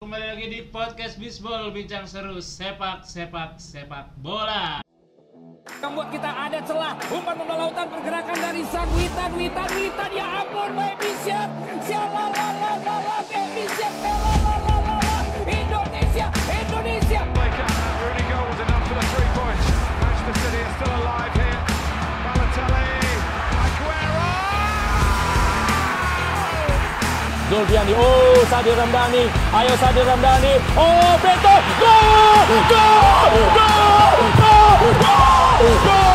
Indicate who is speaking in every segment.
Speaker 1: kembali lagi di podcast Bisbol Bincang Seru Sepak Sepak Sepak Bola.
Speaker 2: Membuat kita ada celah. Umpan bola lautan pergerakan dari sang Witan, Witan, Witan. Ya ampun, baby siap. Sialalalalalala, baby siap. Lalalalala. Indonesia, Indonesia.
Speaker 3: Blake Allen, Rooney goal was enough for the three points. Manchester City are still alive here. Balotelli, Aguero!
Speaker 4: Zulfiandi, oh Sadir Ramdhani, ayo Sadir Ramdhani, oh Beto, gol, gol, gol, gol, gol, gol, gol,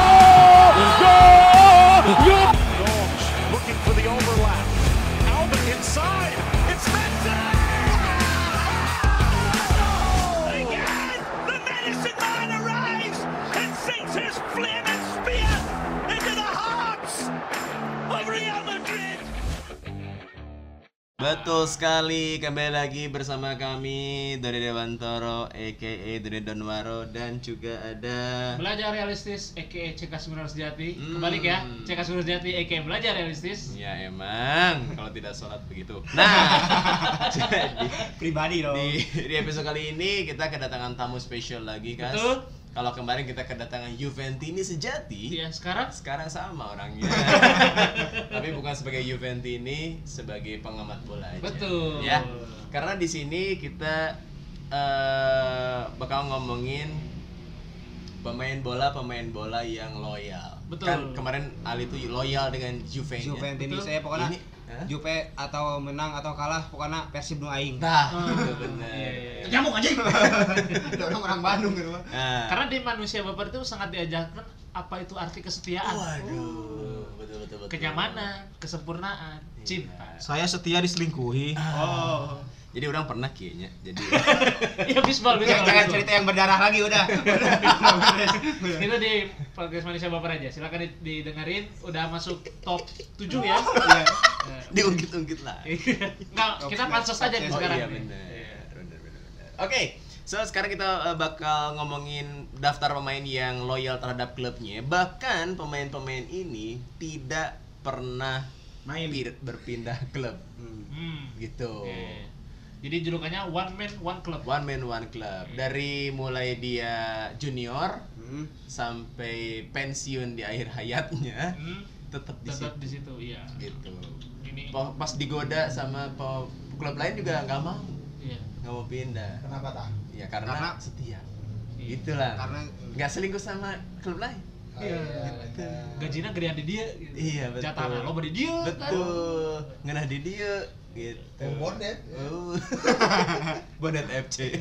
Speaker 3: Norms looking for the overlap. Albert inside. It's Messi!
Speaker 5: Again, the medicine man arrives and sinks his flaming spear into the hearts of Real Madrid.
Speaker 6: Betul sekali, kembali lagi bersama kami dari Dewantoro aka Dede Donwaro dan juga ada
Speaker 1: Belajar realistis EKE CK Sumber Sejati. Kembali ya, CK Sumber Sejati EKE Belajar Realistis.
Speaker 6: Ya emang, kalau tidak sholat begitu Nah, jadi
Speaker 7: pribadi dong.
Speaker 6: di, di episode kali ini kita kedatangan tamu spesial lagi kan
Speaker 1: Betul.
Speaker 6: Kalau kemarin kita kedatangan Juventini sejati
Speaker 1: Ya, sekarang
Speaker 6: Sekarang sama orangnya Tapi bukan sebagai Juventini, sebagai pengamat bola aja
Speaker 1: Betul.
Speaker 6: Ya, karena di sini kita eh, bakal ngomongin pemain bola pemain bola yang loyal.
Speaker 1: Betul.
Speaker 6: Kan kemarin Ali tuh loyal dengan Juve. -nya.
Speaker 7: Juve ini
Speaker 1: Betul.
Speaker 7: saya pokoknya
Speaker 6: Iya, Ini, hah?
Speaker 7: Juve atau menang atau kalah pokoknya Persib nu aing.
Speaker 6: Nah,
Speaker 1: Ah,
Speaker 6: itu
Speaker 1: iya,
Speaker 6: benar.
Speaker 1: iya.
Speaker 7: Nyamuk anjing. Ada orang orang Bandung gitu. Pak.
Speaker 6: Nah,
Speaker 1: karena di manusia baper itu sangat diajarkan apa itu arti kesetiaan,
Speaker 6: waduh, Iya. betul betul betul.
Speaker 1: kenyamanan, kesempurnaan, cinta.
Speaker 8: Saya setia diselingkuhi.
Speaker 7: Oh.
Speaker 6: Ah. Jadi orang pernah kayaknya. Jadi
Speaker 1: Ya Bisbol, Bisbol.
Speaker 6: Iya,
Speaker 7: Udah, Iya, jangan
Speaker 1: Bisbol.
Speaker 7: cerita ya. yang berdarah lagi udah. Udah, beres. Beres.
Speaker 1: Itu di podcast manusia baper aja. Silakan di- didengerin. Udah masuk top 7 ya.
Speaker 7: Iya.
Speaker 1: Nah,
Speaker 6: diungkit-ungkit lah.
Speaker 1: Iya. Enggak, kita pansos aja nih
Speaker 7: Oh,
Speaker 1: sekarang.
Speaker 6: iya
Speaker 1: nih.
Speaker 6: benar. Benar benar benar. Oke, so sekarang kita eh, bakal ngomongin daftar pemain yang loyal terhadap klubnya. Bahkan pemain-pemain ini tidak pernah main berpindah klub
Speaker 1: Hmm.
Speaker 6: gitu.
Speaker 1: Oke. Jadi julukannya one man one club.
Speaker 6: One man one club. Dari mulai dia junior
Speaker 7: Hmm.
Speaker 6: sampai pensiun di akhir hayatnya
Speaker 1: Hmm,
Speaker 6: tetap di
Speaker 1: tetap
Speaker 6: situ
Speaker 1: di situ, iya.
Speaker 6: gitu.
Speaker 1: Ini
Speaker 6: Po- Pas digoda sama po- klub lain juga nggak mau,
Speaker 1: iya.
Speaker 6: nggak mau pindah.
Speaker 7: Kenapa tak?
Speaker 6: Ya karena,
Speaker 7: Karena-
Speaker 6: setia.
Speaker 1: Iya.
Speaker 6: Itulah.
Speaker 7: Karena
Speaker 6: nggak selingkuh sama klub lain.
Speaker 1: Iya. Gajinya gedean di dia gitu.
Speaker 6: Oh, Iya, betul.
Speaker 1: Jatahna lo di dia. kan.
Speaker 6: Betul. Ngenah di dia gitu.
Speaker 7: Oh,
Speaker 6: Uh. bonet. bonet FC.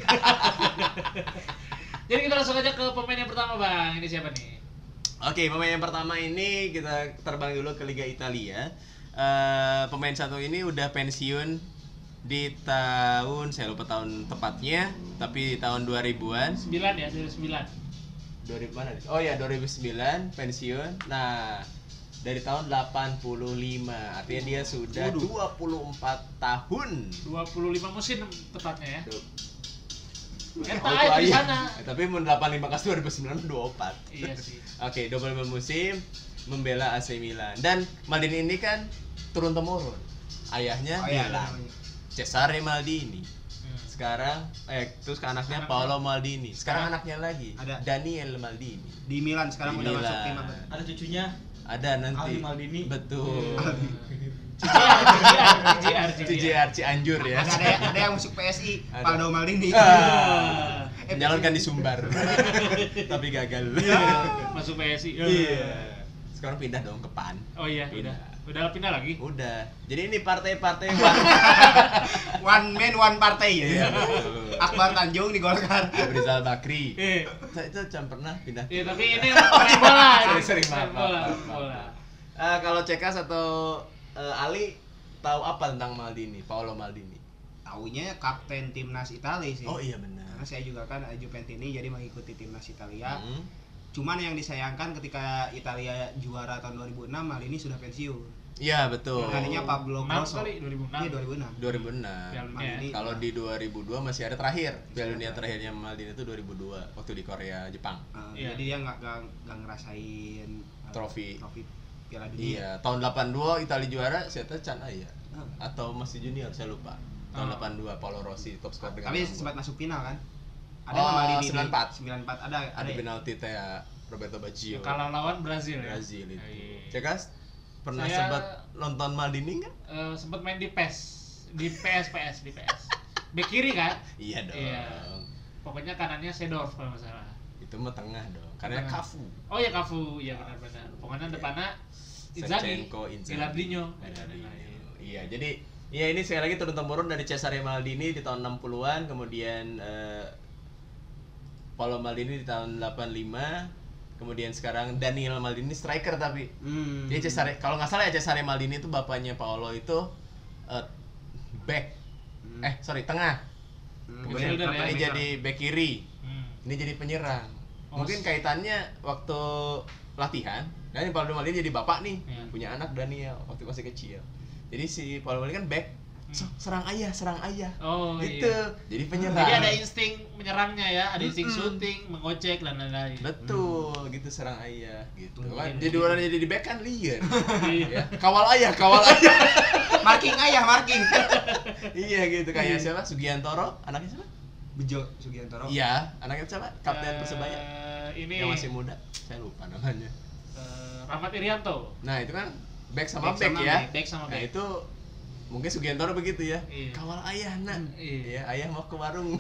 Speaker 1: Jadi kita langsung aja ke pemain yang pertama, Bang. Ini siapa nih?
Speaker 6: Oke, pemain yang pertama ini kita terbang dulu ke Liga Italia. Eh, pemain satu ini udah pensiun di tahun saya lupa tahun tepatnya, tapi di tahun 2000-an.
Speaker 1: 9 ya, 9.
Speaker 6: 2000 mana? Oh ya, 2009 pensiun. Nah, dari tahun 85. Artinya dia sudah 24 tahun
Speaker 1: 25 musim tepatnya ya. Eta
Speaker 6: Oh,
Speaker 1: aja
Speaker 6: itu
Speaker 1: di
Speaker 6: aja.
Speaker 1: sana.
Speaker 6: Eh, Tapi mun 85 kas 2009 24.
Speaker 1: Iya sih.
Speaker 6: Oke, 25 musim membela AC Milan. Dan Maldini ini kan turun temurun. Ayahnya
Speaker 7: Oh, iya,
Speaker 6: Milan.
Speaker 7: namanya.
Speaker 6: Cesare Maldini.
Speaker 1: Hmm.
Speaker 6: Sekarang eh terus ke anaknya
Speaker 1: Anaknya.
Speaker 6: Paolo Maldini. Sekarang anaknya lagi
Speaker 7: Ada.
Speaker 6: Daniel Maldini.
Speaker 7: di Milan sekarang
Speaker 6: Di
Speaker 7: udah
Speaker 6: Milan.
Speaker 7: masuk tim apa?
Speaker 8: Ada cucunya.
Speaker 6: Ada nanti.
Speaker 8: Aldi Maldini.
Speaker 6: Betul.
Speaker 1: CJR, CJR, CJR.
Speaker 6: CJR Cianjur ya.
Speaker 7: Ada ada yang, ada yang masuk PSI,
Speaker 6: Ada.
Speaker 7: Paldo Maldini.
Speaker 6: Ah,
Speaker 7: Eh,
Speaker 6: menyalurkan di Sumbar. Iya. Tapi gagal.
Speaker 1: Masuk PSI.
Speaker 6: Iya. Sekarang pindah dong ke PAN.
Speaker 1: Oh iya, udah. Udah pindah lagi.
Speaker 6: Udah. Jadi ini partai-partai Wah.
Speaker 7: One man one party
Speaker 6: Iya,
Speaker 7: ya.
Speaker 6: betul.
Speaker 7: Akbar Tanjung di Golkar.
Speaker 6: Rizal Bakri.
Speaker 1: Eh,
Speaker 6: Saya itu jam pernah pindah.
Speaker 1: Iya, tapi ini pemain bola.
Speaker 6: Sorry, sorry,
Speaker 1: Pemain
Speaker 6: maaf,
Speaker 1: bola, pemain
Speaker 6: maaf, maaf,
Speaker 1: bola.
Speaker 6: Eh, kalau Cekas atau eh, Ali tahu apa tentang Maldini, Paolo Maldini?
Speaker 7: Taunya kapten timnas Italia sih.
Speaker 6: Oh iya benar.
Speaker 7: Karena saya juga kan eh, Juventini jadi mengikuti timnas Italia.
Speaker 6: Hmm.
Speaker 7: Cuman yang disayangkan ketika Italia juara tahun 2006 Maldini sudah pensiun.
Speaker 6: Iya, betul.
Speaker 7: Pertandingannya Pablo
Speaker 1: Enam
Speaker 7: Grosso.
Speaker 1: kali, 2006.
Speaker 7: Iya 2006.
Speaker 1: Piala
Speaker 6: 2006.
Speaker 1: Dunia
Speaker 7: Maldini.
Speaker 6: Iya. Kalau di 2002 masih ada terakhir. Piala Dunia terakhirnya Maldini itu 2002 waktu di Korea Jepang.
Speaker 7: Eh,
Speaker 1: Iya.
Speaker 7: Jadi dia nggak nggak nggak ngerasain eh,
Speaker 6: Trofi.
Speaker 7: trofi Piala Dunia.
Speaker 6: Iya, tahun 82 Italia juara, saya tuh can aya.
Speaker 7: Hmm.
Speaker 6: Atau masih junior, saya lupa. tahun
Speaker 1: Ah.
Speaker 6: 82 Paolo Rossi top skor dengan
Speaker 7: Tapi
Speaker 6: 6 gol.
Speaker 7: sempat masuk final kan? Ada
Speaker 6: Oh,
Speaker 7: nama Lini
Speaker 6: 94.
Speaker 7: 94 ada
Speaker 6: ada
Speaker 7: ya?
Speaker 6: penalti teh Roberto Baggio
Speaker 1: Kalau lawan Brazil ya.
Speaker 6: Brazil itu.
Speaker 1: Iya.
Speaker 6: Cekas pernah
Speaker 1: Saya-
Speaker 6: sempat nonton Maldini nggak?
Speaker 1: Eh, sempat main di PES, di PS PS di PS. Bek kiri kan?
Speaker 6: Iya dong.
Speaker 1: Iya. Pokoknya kanannya Sedorf kalau nggak salah.
Speaker 6: Itu mah tengah dong. Karena
Speaker 1: Tengah.
Speaker 6: Kafu.
Speaker 1: Oh ya Kafu, ya benar-benar. Pokoknya
Speaker 6: Iya.
Speaker 1: depannya Inzaghi,
Speaker 6: Shevchenko, Inzaghi,
Speaker 1: Gilardino, dan
Speaker 6: Gilardino.
Speaker 1: lain-lain.
Speaker 6: Iya, jadi ya ini sekali lagi turun temurun dari Cesare Maldini di tahun 60-an, kemudian eh, Paolo Maldini di tahun 85, kemudian sekarang Daniel Maldini striker tapi
Speaker 7: Hmm.
Speaker 6: dia Iya, Cesare kalau nggak salah ya Cesare Maldini itu bapaknya Paolo itu eh, back
Speaker 7: Hmm.
Speaker 6: eh sorry tengah
Speaker 7: Hmm.
Speaker 6: kemudian
Speaker 1: Midfielder ya,
Speaker 6: ini
Speaker 1: midfielder.
Speaker 6: jadi back kiri
Speaker 1: Hmm.
Speaker 6: ini jadi penyerang
Speaker 1: Oh, s-
Speaker 6: mungkin kaitannya waktu latihan dan Paolo Maldini jadi bapak nih
Speaker 1: Iya.
Speaker 6: punya anak Daniel waktu masih kecil jadi si Paolo Maldini kan back "So, serang ayah serang ayah
Speaker 1: Hmm. Oh
Speaker 6: gitu
Speaker 1: iya.
Speaker 6: jadi penyerang
Speaker 1: Jadi ada insting menyerangnya ya, ada insting
Speaker 6: Mm-mm.
Speaker 1: syuting, mengocek dan lain-lain.
Speaker 6: betul
Speaker 1: Hmm.
Speaker 6: gitu serang ayah gitu kan
Speaker 7: Mungkin,
Speaker 6: jadi
Speaker 1: mungkin.
Speaker 6: orang jadi di back kan liar
Speaker 1: Iya.
Speaker 6: ya. kawal ayah kawal ayah
Speaker 7: Marking ayah, marking.
Speaker 6: iya gitu
Speaker 1: Iya.
Speaker 6: kayak siapa Sugiantoro anaknya siapa
Speaker 7: Bejo Sugiantoro.
Speaker 6: iya anaknya siapa kapten persebaya
Speaker 1: Eh, ini
Speaker 6: yang masih muda saya lupa namanya
Speaker 1: eh, Rahmat Irianto.
Speaker 6: Nah itu kan back sama
Speaker 7: Back
Speaker 6: back,
Speaker 7: sama
Speaker 6: ya.
Speaker 1: back. Back sama
Speaker 6: Nah
Speaker 1: back.
Speaker 6: itu mungkin Sugiantoro begitu ya.
Speaker 1: Iya.
Speaker 6: Kawal ayah nak.
Speaker 1: Iya.
Speaker 6: Iya, ayah mau ke warung.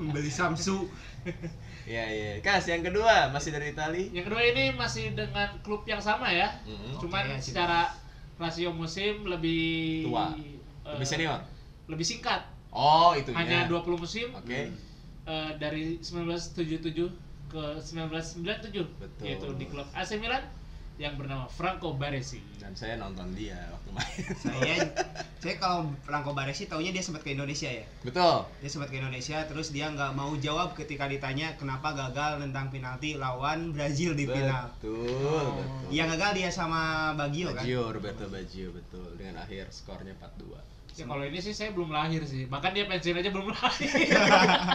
Speaker 7: Membeli Samsu.
Speaker 6: Iya iya. Kas yang kedua masih dari Itali.
Speaker 1: Yang kedua ini masih dengan klub yang sama ya.
Speaker 6: Mm-mm.
Speaker 1: Cuman
Speaker 7: Oke,
Speaker 1: secara rasio musim lebih
Speaker 6: Tua.
Speaker 1: eh,
Speaker 6: Lebih senior.
Speaker 1: Lebih singkat.
Speaker 6: Oh itu
Speaker 1: Hanya
Speaker 6: ya.
Speaker 1: 20 musim
Speaker 6: Oke.
Speaker 1: eh, dari 1977 ke 1997
Speaker 6: Betul.
Speaker 1: yaitu di klub AC Milan yang bernama Franco Baresi. Ya,
Speaker 6: Dan saya nonton dia waktu main.
Speaker 7: Saya saya kalau Franco Baresi taunya dia sempat ke Indonesia ya.
Speaker 6: Betul.
Speaker 7: Dia sempat ke Indonesia terus dia nggak mau jawab ketika ditanya kenapa gagal nendang penalti lawan Brazil di final.
Speaker 6: Betul. Betul.
Speaker 7: Oh, Yang gagal dia sama Bagio kan.
Speaker 6: Baggio, Roberto Baggio betul dengan akhir skornya 4-2.
Speaker 1: Ya, kalau ini sih saya belum lahir sih. Bahkan dia pensiun aja belum lahir.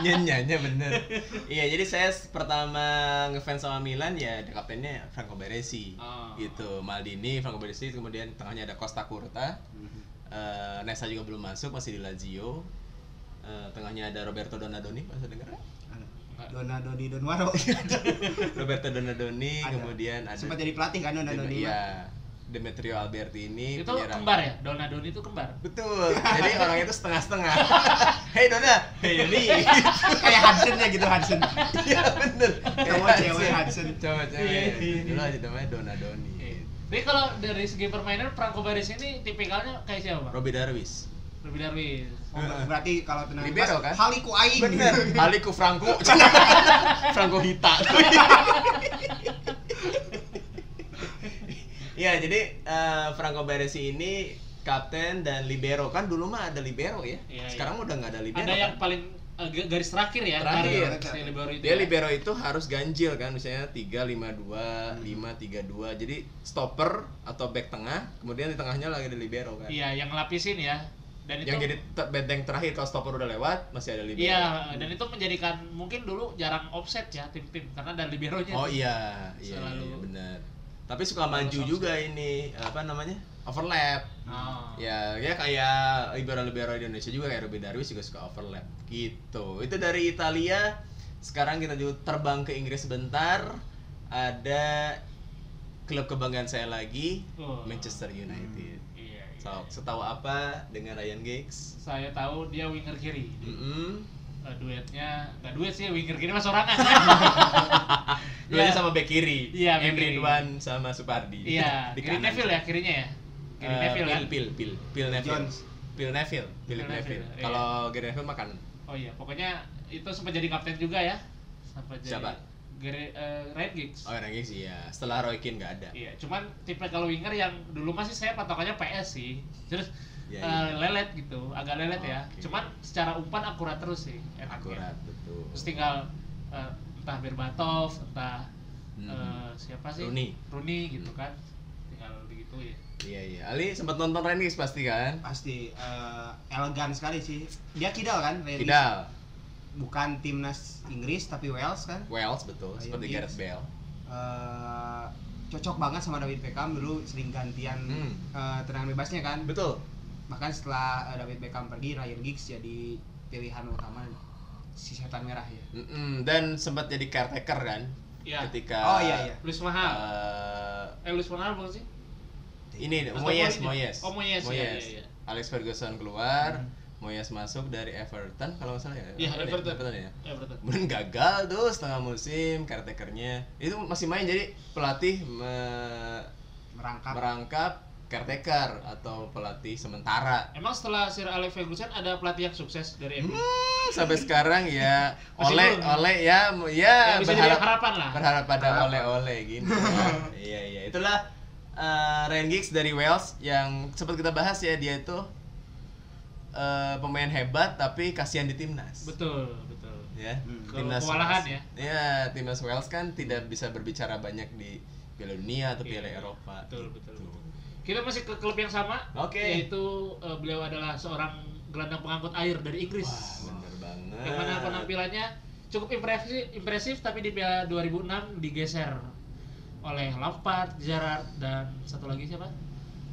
Speaker 6: Nyanyiannya bener. Iya jadi saya s- pertama ngefans sama Milan ya ada kaptennya Franco Baresi
Speaker 1: Ah.
Speaker 6: gitu Maldini, Franco Baresi kemudian tengahnya ada Costa Curta, Eh, Nesta juga belum masuk masih di Lazio, Eh, tengahnya ada Roberto Donadoni masa denger nggak?
Speaker 7: Dona Doni Donwaro.
Speaker 6: Roberto Donadoni Iya,
Speaker 7: Ada.
Speaker 6: kemudian ada
Speaker 7: sempat jadi pelatih kan Dona Doni.
Speaker 6: Dem- iya, Demetrio Albertini
Speaker 1: itu
Speaker 6: penyerang.
Speaker 1: kembar ya? Donadoni itu kembar.
Speaker 6: Betul. Jadi orang itu setengah-setengah. Hei Dona, hei Doni.
Speaker 7: Kayak Hudson ya gitu Hudson.
Speaker 6: Iya bener.
Speaker 7: Cowok cewek Hudson.
Speaker 6: Coba
Speaker 1: Iya,
Speaker 6: cewek.
Speaker 1: iya,
Speaker 6: Dulu aja namanya Dona Doni.
Speaker 1: Iya. Jadi kalau dari segi permainan Franco Baris ini tipikalnya kayak siapa? Bang?
Speaker 6: Robby Darwis.
Speaker 1: Lebih Darwis.
Speaker 7: Oh, ber- berarti kalau tenang
Speaker 6: Libero, kan?
Speaker 7: Haliku aing.
Speaker 6: Aliku Franco. Franco Hita. Iya, jadi eh, Franco Baresi ini kapten dan libero kan dulu mah ada libero ya.
Speaker 1: Iya, iya.
Speaker 6: Sekarang udah nggak ada libero.
Speaker 1: Ada yang
Speaker 6: kan?
Speaker 1: paling eh, ga- garis terakhir ya?
Speaker 6: Terakhir.
Speaker 1: dari si Libero itu.
Speaker 6: dia
Speaker 1: ya.
Speaker 6: libero itu harus ganjil kan misalnya 3 5
Speaker 1: Hmm.
Speaker 6: 2 5 3 2. Jadi stopper atau back tengah, kemudian di tengahnya lagi ada libero kan.
Speaker 1: Iya, yang lapisin ya. Dan itu
Speaker 6: yang jadi te- benteng terakhir kalau stopper udah lewat masih ada libero.
Speaker 1: Iya, dan itu menjadikan mungkin dulu jarang offset ya tim-tim karena ada liberonya.
Speaker 6: Oh iya, iya,
Speaker 1: Selalu.
Speaker 6: iya benar. Tapi suka maju juga ini apa namanya? Overlap.
Speaker 1: Ah.
Speaker 6: Ya, ya kayak libero-libero di Indonesia juga kayak Ruben Darwis juga suka overlap gitu. Itu dari Italia. Sekarang kita juga terbang ke Inggris sebentar. Ada klub kebanggaan saya lagi,
Speaker 1: Oh.
Speaker 6: Manchester United.
Speaker 1: Iya, iya.
Speaker 6: So, setahu apa dengan Ryan Giggs?
Speaker 1: Saya tahu dia winger kiri.
Speaker 6: Mm-mm.
Speaker 1: Eh, duetnya, nggak duet sih winger kiri mas sorangan.
Speaker 6: Duanya
Speaker 1: Iya.
Speaker 6: sama bek kiri,
Speaker 1: Iya, bek
Speaker 6: Emre
Speaker 1: kiri.
Speaker 6: Ridwan sama Supardi.
Speaker 1: Iya,
Speaker 6: Di
Speaker 1: kiri
Speaker 6: kanan.
Speaker 1: Neville ya kirinya ya. Kiri
Speaker 6: Eh,
Speaker 1: Neville kan.
Speaker 6: Pil, pil, pil, pil Neville.
Speaker 7: Jones.
Speaker 6: Pil Neville, Philip
Speaker 1: Phil Neville,
Speaker 6: Neville.
Speaker 1: iya.
Speaker 6: Kalau Gary Neville makan.
Speaker 1: Oh iya, pokoknya itu sempat jadi kapten juga ya. Sempat jadi
Speaker 6: Siapa?
Speaker 1: Gary, eh, Ryan Giggs.
Speaker 6: Oh, Ryan Giggs iya. Setelah Roy Keane nggak ada.
Speaker 1: Iya, cuman tipe kalau winger yang dulu masih saya patokannya PS sih. Terus eh,
Speaker 6: Iya, iya.
Speaker 1: lelet gitu, agak lelet ya.
Speaker 6: Oke.
Speaker 1: Cuman secara umpan akurat terus sih. enaknya.
Speaker 6: Akurat, betul.
Speaker 1: Terus tinggal eh, entah Berbatov, entah
Speaker 6: Hmm.
Speaker 1: eh, siapa sih?
Speaker 6: Rooney.
Speaker 1: Rooney gitu
Speaker 6: Hmm.
Speaker 1: kan. Tinggal begitu ya.
Speaker 6: Iya, iya. Ali sempat nonton Ryan Giggs pasti kan?
Speaker 7: Pasti eh, elegan sekali sih. Dia kidal kan? Ryan Giggs?
Speaker 6: Kidal,
Speaker 7: Bukan timnas Inggris tapi Wales kan?
Speaker 6: Wales
Speaker 1: Oh,
Speaker 6: betul,
Speaker 1: iya,
Speaker 7: Ryan
Speaker 6: seperti
Speaker 7: Giggs.
Speaker 6: Gareth Bale.
Speaker 7: Eh, cocok banget sama David Beckham dulu sering gantian
Speaker 6: Hmm.
Speaker 7: eh, tendangan bebasnya kan
Speaker 6: Betul.
Speaker 7: Bahkan setelah eh, David Beckham pergi, Ryan Giggs jadi pilihan utama si setan merah ya.
Speaker 6: Mm-mm, dan sempat jadi caretaker kan
Speaker 1: Iya.
Speaker 6: ketika
Speaker 7: Oh, iya, iya.
Speaker 1: Luis Mahal.
Speaker 6: eh,
Speaker 1: eh Luis Mahal bukan sih?
Speaker 6: ini
Speaker 1: Mas
Speaker 6: Moyes
Speaker 1: Tomori
Speaker 6: Moyes
Speaker 1: dia. Oh, Moyes, iya, iya, iya.
Speaker 6: Alex Ferguson keluar Moyes masuk dari Everton kalau nggak salah ya
Speaker 1: Iya, Everton.
Speaker 6: ya
Speaker 1: Everton.
Speaker 6: kemudian gagal tuh setengah musim caretakernya itu masih main jadi pelatih me-
Speaker 7: Merangkap.
Speaker 6: merangkap caretaker atau pelatih sementara
Speaker 1: Emang setelah Sir Alex Ferguson ada pelatih yang sukses dari MU?
Speaker 6: Hmm, sampai sekarang ya
Speaker 1: Masih
Speaker 6: oleh
Speaker 1: belum.
Speaker 6: oleh ya mu-
Speaker 1: Ya,
Speaker 6: ya
Speaker 1: bisa jadi
Speaker 6: berharap
Speaker 1: harapan lah.
Speaker 6: berharap pada
Speaker 7: Harapan.
Speaker 6: oleh oleh gini iya iya itulah eh Ryan Giggs dari Wales yang sempat kita bahas ya dia itu eh, pemain hebat tapi kasihan di timnas
Speaker 1: Betul, betul.
Speaker 6: ya
Speaker 7: Hmm.
Speaker 6: timnas
Speaker 1: Kewalahan
Speaker 6: Wales.
Speaker 1: ya.
Speaker 6: Iya, timnas Wales kan tidak bisa berbicara banyak di Piala Dunia atau Piala
Speaker 1: Iya,
Speaker 6: Eropa
Speaker 1: Betul, betul.
Speaker 6: Gitu.
Speaker 1: Kita masih ke klub yang sama.
Speaker 6: Oke.
Speaker 1: Yaitu eh, beliau adalah seorang gelandang pengangkut air dari Inggris.
Speaker 6: Wah, bener banget
Speaker 1: Yang mana penampilannya cukup impresif, impresif tapi di Piala 2006 digeser oleh Lampard, Gerrard dan satu lagi siapa?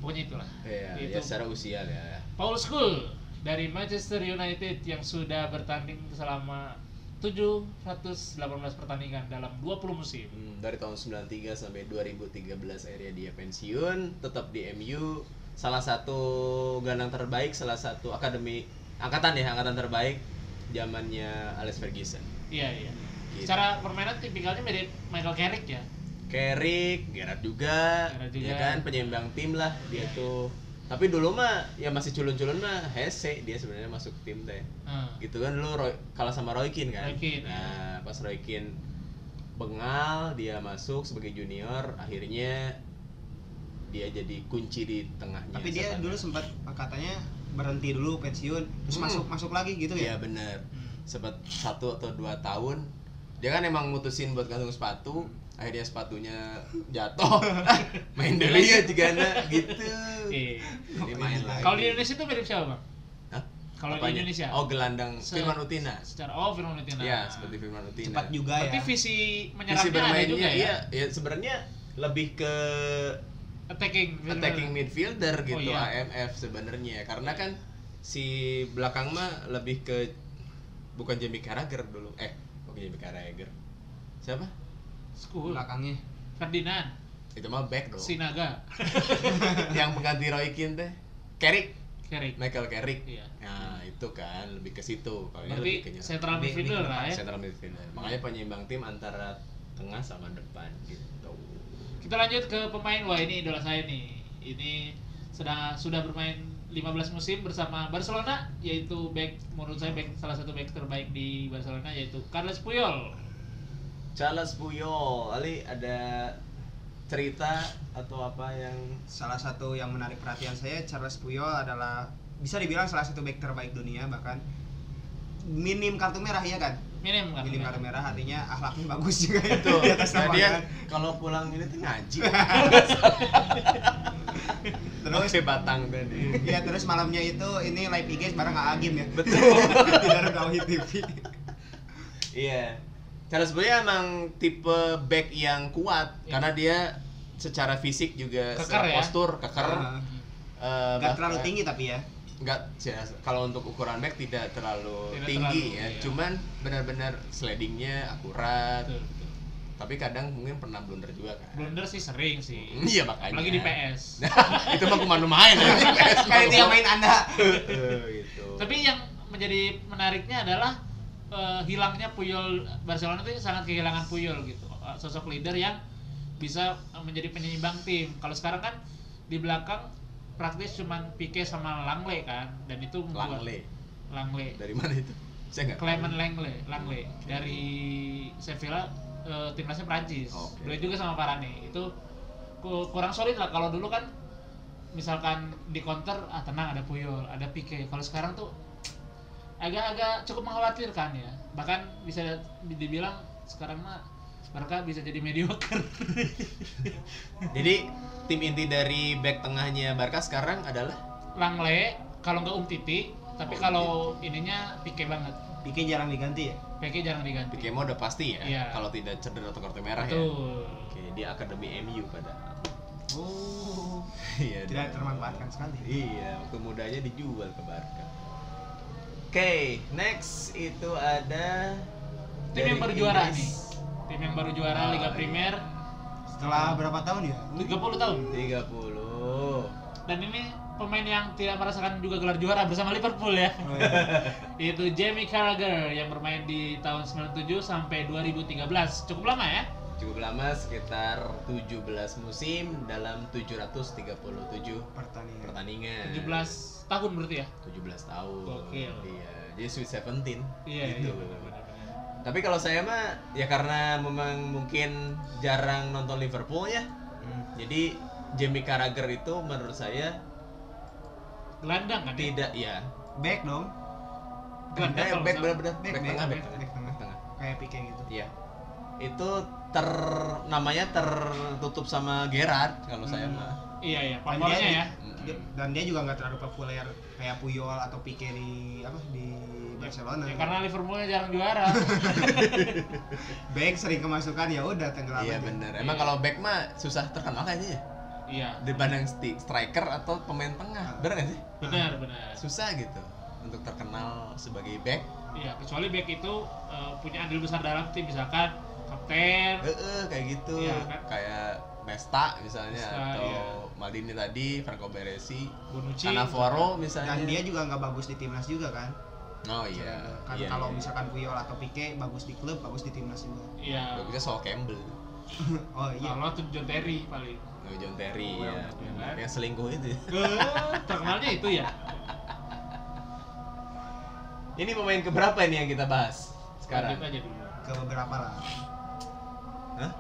Speaker 1: Pokoknya itulah.
Speaker 6: Iya,
Speaker 1: Itu.
Speaker 6: ya secara usia lah ya
Speaker 1: Paul Scholes dari Manchester United yang sudah bertanding selama 718 pertandingan dalam 20 musim.
Speaker 6: Hmm, dari tahun 93 sampai 2013 akhirnya dia pensiun, tetap di MU. Salah satu gelandang terbaik, salah satu akademi angkatan ya, angkatan terbaik zamannya Alex Ferguson.
Speaker 1: Iya, iya.
Speaker 6: Gitu.
Speaker 1: Secara permainan tipikalnya mirip Michael Carrick ya.
Speaker 6: Carrick, Gerrard juga,
Speaker 1: Gerrard juga.
Speaker 6: ya kan penyeimbang tim lah dia tuh. Tapi dulu mah ya masih culun-culun mah Hese dia sebenarnya masuk tim teh.
Speaker 1: Hmm.
Speaker 6: Gitu kan dulu Roy- kalah sama Roy Keane kan.
Speaker 1: Roy Keane, iya.
Speaker 6: nah, pas Roy Keane bengal dia masuk sebagai junior akhirnya dia jadi kunci di tengahnya.
Speaker 7: Tapi dia
Speaker 6: Iya, setan.
Speaker 7: dulu sempat katanya berhenti dulu pensiun, terus
Speaker 6: Hmm.
Speaker 7: masuk masuk lagi gitu
Speaker 6: Iya
Speaker 7: ya.
Speaker 6: bener
Speaker 1: Hmm.
Speaker 6: Sempat satu atau dua tahun Dia kan emang mutusin buat gantung sepatu Akhirnya sepatunya jatuh Main dulu ya Jigana gitu
Speaker 1: Iya.
Speaker 6: Jadi main lagi
Speaker 1: Kalau di Indonesia itu mirip siapa, Bang?
Speaker 6: Hah?
Speaker 1: Kalau di
Speaker 6: Apanya?
Speaker 1: Indonesia.
Speaker 6: Oh gelandang
Speaker 1: Se-
Speaker 6: Firman Utina
Speaker 1: Secara oh Firman Utina.
Speaker 6: Iya seperti Firman Utina
Speaker 7: Cepat juga ya.
Speaker 1: Berarti visi
Speaker 6: Visi
Speaker 1: menyerangnya ada
Speaker 6: bermainnya
Speaker 1: juga ya.
Speaker 6: iya, ya sebenarnya lebih ke
Speaker 1: Attacking
Speaker 6: attacking midfielder
Speaker 1: Oh,
Speaker 6: gitu
Speaker 1: iya.
Speaker 6: AMF sebenarnya karena kan si belakang mah lebih ke bukan Jamie Carragher dulu eh bukan Jamie Carragher siapa
Speaker 1: school.
Speaker 7: Belakangnya.
Speaker 1: Ferdinand,
Speaker 6: itu mah back dong
Speaker 1: Sinaga,
Speaker 6: yang pengganti Roy Keane teh Carrick
Speaker 1: Carrick.
Speaker 6: Michael Carrick
Speaker 1: Iya.
Speaker 6: nah itu kan lebih ke situ kalau ini lebih
Speaker 1: Berarti
Speaker 6: ke nyerang.
Speaker 1: central
Speaker 7: Lebih-
Speaker 1: midfielder
Speaker 7: lebih
Speaker 1: lah ya.
Speaker 6: central midfielder makanya penyeimbang tim antara tengah sama depan gitu
Speaker 1: Kita lanjut ke pemain wah ini idola saya nih. Ini sedang sudah bermain 15 musim bersama Barcelona yaitu back menurut saya back salah satu back terbaik di Barcelona yaitu Carles Puyol.
Speaker 6: Charles Puyol Ali ada cerita atau apa yang
Speaker 7: Salah satu yang menarik perhatian saya Charles Puyol adalah bisa dibilang salah satu back terbaik dunia bahkan minim kartu merah ya kan
Speaker 1: Minim kan.
Speaker 7: minim kartu merah artinya akhlaknya bagus juga itu
Speaker 6: Tuh,
Speaker 7: di atas kan.
Speaker 6: nah dia
Speaker 7: lapangan
Speaker 6: kalau pulang ini tuh ngaji.
Speaker 7: terus
Speaker 6: Oke, batang tadi.
Speaker 7: ya terus malamnya itu ini live IG bareng Agim ya
Speaker 6: Betul.
Speaker 7: di Darut Tauhid TV
Speaker 6: Iya. Charles Boyer emang tipe back yang kuat
Speaker 1: Iya.
Speaker 6: karena dia secara fisik juga
Speaker 1: Keker
Speaker 6: secara
Speaker 1: ya.
Speaker 6: postur keker.
Speaker 7: Ah,
Speaker 6: eh,
Speaker 7: nggak
Speaker 6: bahkan-
Speaker 7: terlalu tinggi tapi ya
Speaker 6: Nggak, ya, kalau untuk ukuran back tidak terlalu
Speaker 1: Tidak
Speaker 6: tinggi
Speaker 1: terlalu,
Speaker 6: ya.
Speaker 1: iya.
Speaker 6: Cuman benar-benar slidingnya akurat.
Speaker 1: Betul, betul.
Speaker 6: Tapi kadang mungkin pernah blunder juga kan.
Speaker 1: Blunder sih sering sih.
Speaker 6: Iya Nah, makanya.
Speaker 1: Apalagi Hmm. di PS.
Speaker 6: itu mah kuman main ya. di PS.
Speaker 7: kayak dia main anda
Speaker 6: Eh, gitu.
Speaker 1: Tapi yang menjadi menariknya adalah eh, hilangnya Puyol Barcelona itu sangat kehilangan Puyol gitu. Eh, Sosok leader yang bisa eh, menjadi penyeimbang tim. Kalau sekarang kan di belakang praktis cuman Pique sama Langley kan dan itu membuat
Speaker 6: Langley.
Speaker 1: Langley.
Speaker 6: Dari mana itu? Saya nggak.
Speaker 1: Clement Langley, Langley dari Sevilla eh, timnasnya Prancis.
Speaker 6: Oke.
Speaker 1: Beliau juga sama Varane. Itu ku- kurang solid lah kalau dulu kan misalkan di counter ah tenang ada Puyol, ada Pique. Kalau sekarang tuh agak-agak cukup mengkhawatirkan ya. Bahkan bisa di- dibilang sekarang mah Barca bisa jadi mediocre.
Speaker 6: Jadi tim inti dari back tengahnya Barca sekarang adalah
Speaker 1: Langley kalau nggak Umtiti, tapi kalau ininya Pique banget.
Speaker 7: Bikin jarang diganti ya
Speaker 1: Pique jarang diganti.
Speaker 6: Piquemo udah pasti ya
Speaker 1: Iya.
Speaker 6: Iya. kalau tidak cedera atau kartu merah ya.
Speaker 1: Betul.
Speaker 6: Oke, dia akademi MU pada.
Speaker 1: Oh.
Speaker 6: Iya.
Speaker 7: tidak
Speaker 6: dia-
Speaker 7: termanfaatkan sekali
Speaker 6: Iya, waktu mudanya dijual ke Barca. Oke, next itu ada
Speaker 1: Tim
Speaker 6: dari
Speaker 1: yang baru juara
Speaker 6: Inggris.
Speaker 1: nih. Tim yang baru juara
Speaker 6: Oh,
Speaker 1: Liga
Speaker 6: iya.
Speaker 1: Primer
Speaker 7: setelah berapa tahun ya
Speaker 1: 30 tahun.
Speaker 6: 30.
Speaker 1: Dan ini pemain yang tidak merasakan juga gelar juara bersama Liverpool ya.
Speaker 7: Oh, iya.
Speaker 1: Yaitu Jamie Carragher yang bermain di tahun 97 sampai 2013. Cukup lama ya.
Speaker 6: Cukup lama sekitar 17 musim dalam 737
Speaker 7: pertandingan
Speaker 6: pertandingan.
Speaker 1: 17 tahun berarti ya.
Speaker 6: 17 tahun.
Speaker 1: Gokil.
Speaker 6: Iya, jadi sweet 17.
Speaker 1: Iya, iya.
Speaker 6: gitu.
Speaker 1: benar-benar.
Speaker 6: Tapi kalau saya mah ya karena memang mungkin jarang nonton Liverpool ya.
Speaker 7: Hmm.
Speaker 6: Jadi Jamie Carragher itu menurut saya
Speaker 1: Gelandang kan? ya?
Speaker 6: tidak ya.
Speaker 7: back dong
Speaker 1: Gelandang
Speaker 6: Eh,
Speaker 1: kalau
Speaker 6: back
Speaker 1: nggak salah.
Speaker 6: benar-benar back,
Speaker 7: Back,
Speaker 6: tengah,
Speaker 7: back,
Speaker 6: back
Speaker 7: back
Speaker 6: tengah.
Speaker 7: tengah.
Speaker 6: Back tengah.
Speaker 7: kayak Pique gitu
Speaker 6: Iya. Itu ter namanya tertutup sama Gerard kalau saya
Speaker 7: Hmm.
Speaker 6: mah.
Speaker 1: Iya, iya.
Speaker 7: Dan
Speaker 1: Pamornya
Speaker 7: dia-
Speaker 1: ya.
Speaker 7: dia- dan dia juga nggak terlalu populer kayak Puyol atau Pique di apa di Barcelona
Speaker 1: Ya, karena Liverpoolnya jarang juara.
Speaker 7: back sering kemasukan ya udah tenggelam
Speaker 6: Iya
Speaker 7: aja.
Speaker 6: bener. Emang
Speaker 1: Iya.
Speaker 6: kalau back mah susah terkenal kayaknya ya.
Speaker 1: iya.
Speaker 6: Dibanding sti- striker atau pemain
Speaker 1: Ah.
Speaker 6: tengah. Bener gak sih?
Speaker 1: Benar, benar.
Speaker 6: Susah gitu untuk terkenal sebagai back.
Speaker 1: Iya, kecuali back itu eh, punya andil besar dalam tim misalkan kapten,
Speaker 6: Eh, eh, kayak gitu.
Speaker 1: Iya, kan?
Speaker 6: Kayak Nesta misalnya
Speaker 1: Nesta,
Speaker 6: atau
Speaker 1: iya.
Speaker 6: Maldini tadi, Franco Baresi,
Speaker 1: Bonucci.
Speaker 6: Cannavaro misalnya.
Speaker 7: dan dia juga nggak bagus di timnas juga kan
Speaker 6: Oh iya.
Speaker 7: kan
Speaker 6: iya,
Speaker 7: kalau
Speaker 6: iya.
Speaker 7: misalkan Puyol atau Pique bagus di klub bagus di timnas juga
Speaker 1: Iya.
Speaker 6: bagusnya Sol Campbell,
Speaker 7: oh iya
Speaker 1: Kalau tuh John Terry paling.
Speaker 6: sama John Terry
Speaker 1: Iya,
Speaker 6: ya.
Speaker 1: iya kan?
Speaker 6: Yang selingkuh itu.
Speaker 1: Eh, terkenalnya itu ya.
Speaker 6: Ini pemain keberapa ini yang kita bahas sekarang?
Speaker 1: Lanjut aja dulu.
Speaker 7: ke beberapa lah
Speaker 6: Hah?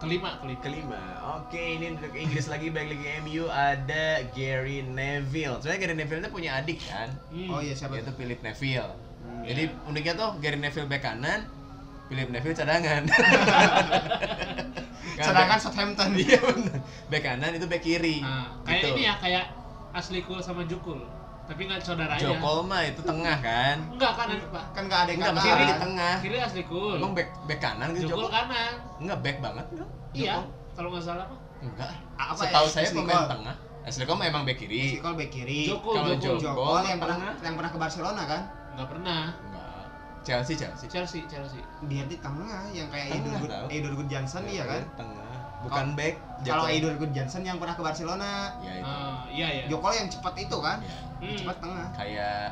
Speaker 1: Kelima, kelima.
Speaker 6: Kelima, oke ini untuk Inggris lagi balik lagi MU ada Gary Neville. Sebenarnya Gary Neville itu punya adik kan,
Speaker 1: Hmm.
Speaker 7: oh iya siapa
Speaker 6: yaitu
Speaker 7: tuh Hmm,
Speaker 6: Philip
Speaker 7: iya.
Speaker 6: Neville. Jadi uniknya tuh Gary Neville bek kanan, Philip Neville cadangan. Kan
Speaker 7: cadangan Ah,
Speaker 6: bek-
Speaker 7: Southampton
Speaker 6: Iya bener. Bek kanan itu bek kiri.
Speaker 1: Nah, kayak
Speaker 6: Gitu.
Speaker 1: ini ya, kayak Asli Kul sama Jukul. Tapi nggak saudara aja.
Speaker 6: Jokol mah itu tengah kan.
Speaker 1: Enggak kanan, Pak.
Speaker 7: kan nggak ada yang
Speaker 6: Enggak,
Speaker 7: kanan.
Speaker 6: kiri di tengah.
Speaker 1: Kiri Asli Kul.
Speaker 6: Emang bek bek kanan gitu
Speaker 1: Jukul
Speaker 6: Jokol?
Speaker 1: kanan.
Speaker 6: Enggak bek banget. Jokol.
Speaker 1: Iya, kalau nggak salah Pak.
Speaker 6: Enggak.
Speaker 7: Apa
Speaker 6: Setahu
Speaker 7: ya,
Speaker 6: saya
Speaker 7: Ashley
Speaker 6: pemain
Speaker 7: Cole?
Speaker 6: tengah. Ashley Cole emang bek kiri.
Speaker 7: Jokol back kiri
Speaker 1: Jokul,
Speaker 6: Kalau
Speaker 1: Jokul.
Speaker 6: Jokul.
Speaker 7: Jokol yang pernah
Speaker 6: Tengah.
Speaker 7: yang pernah ke Barcelona kan
Speaker 1: Nggak pernah.
Speaker 6: Enggak. Chelsea Chelsea.
Speaker 1: Chelsea, Chelsea.
Speaker 7: dia di tengah yang kayak
Speaker 6: Tengah,
Speaker 7: Eidur Good,
Speaker 6: tau. iya.
Speaker 7: Eidur Good Johnson iya kan Oh,
Speaker 6: Tengah. Bukan back.
Speaker 7: kalau
Speaker 6: Jokol.
Speaker 7: Eidur Good Johnson yang pernah ke Barcelona
Speaker 6: Ya itu.
Speaker 1: Ah, iya, iya.
Speaker 7: Jokol yang cepat itu kan
Speaker 6: Ya.
Speaker 1: Hmm.
Speaker 7: cepat tengah
Speaker 6: Kayak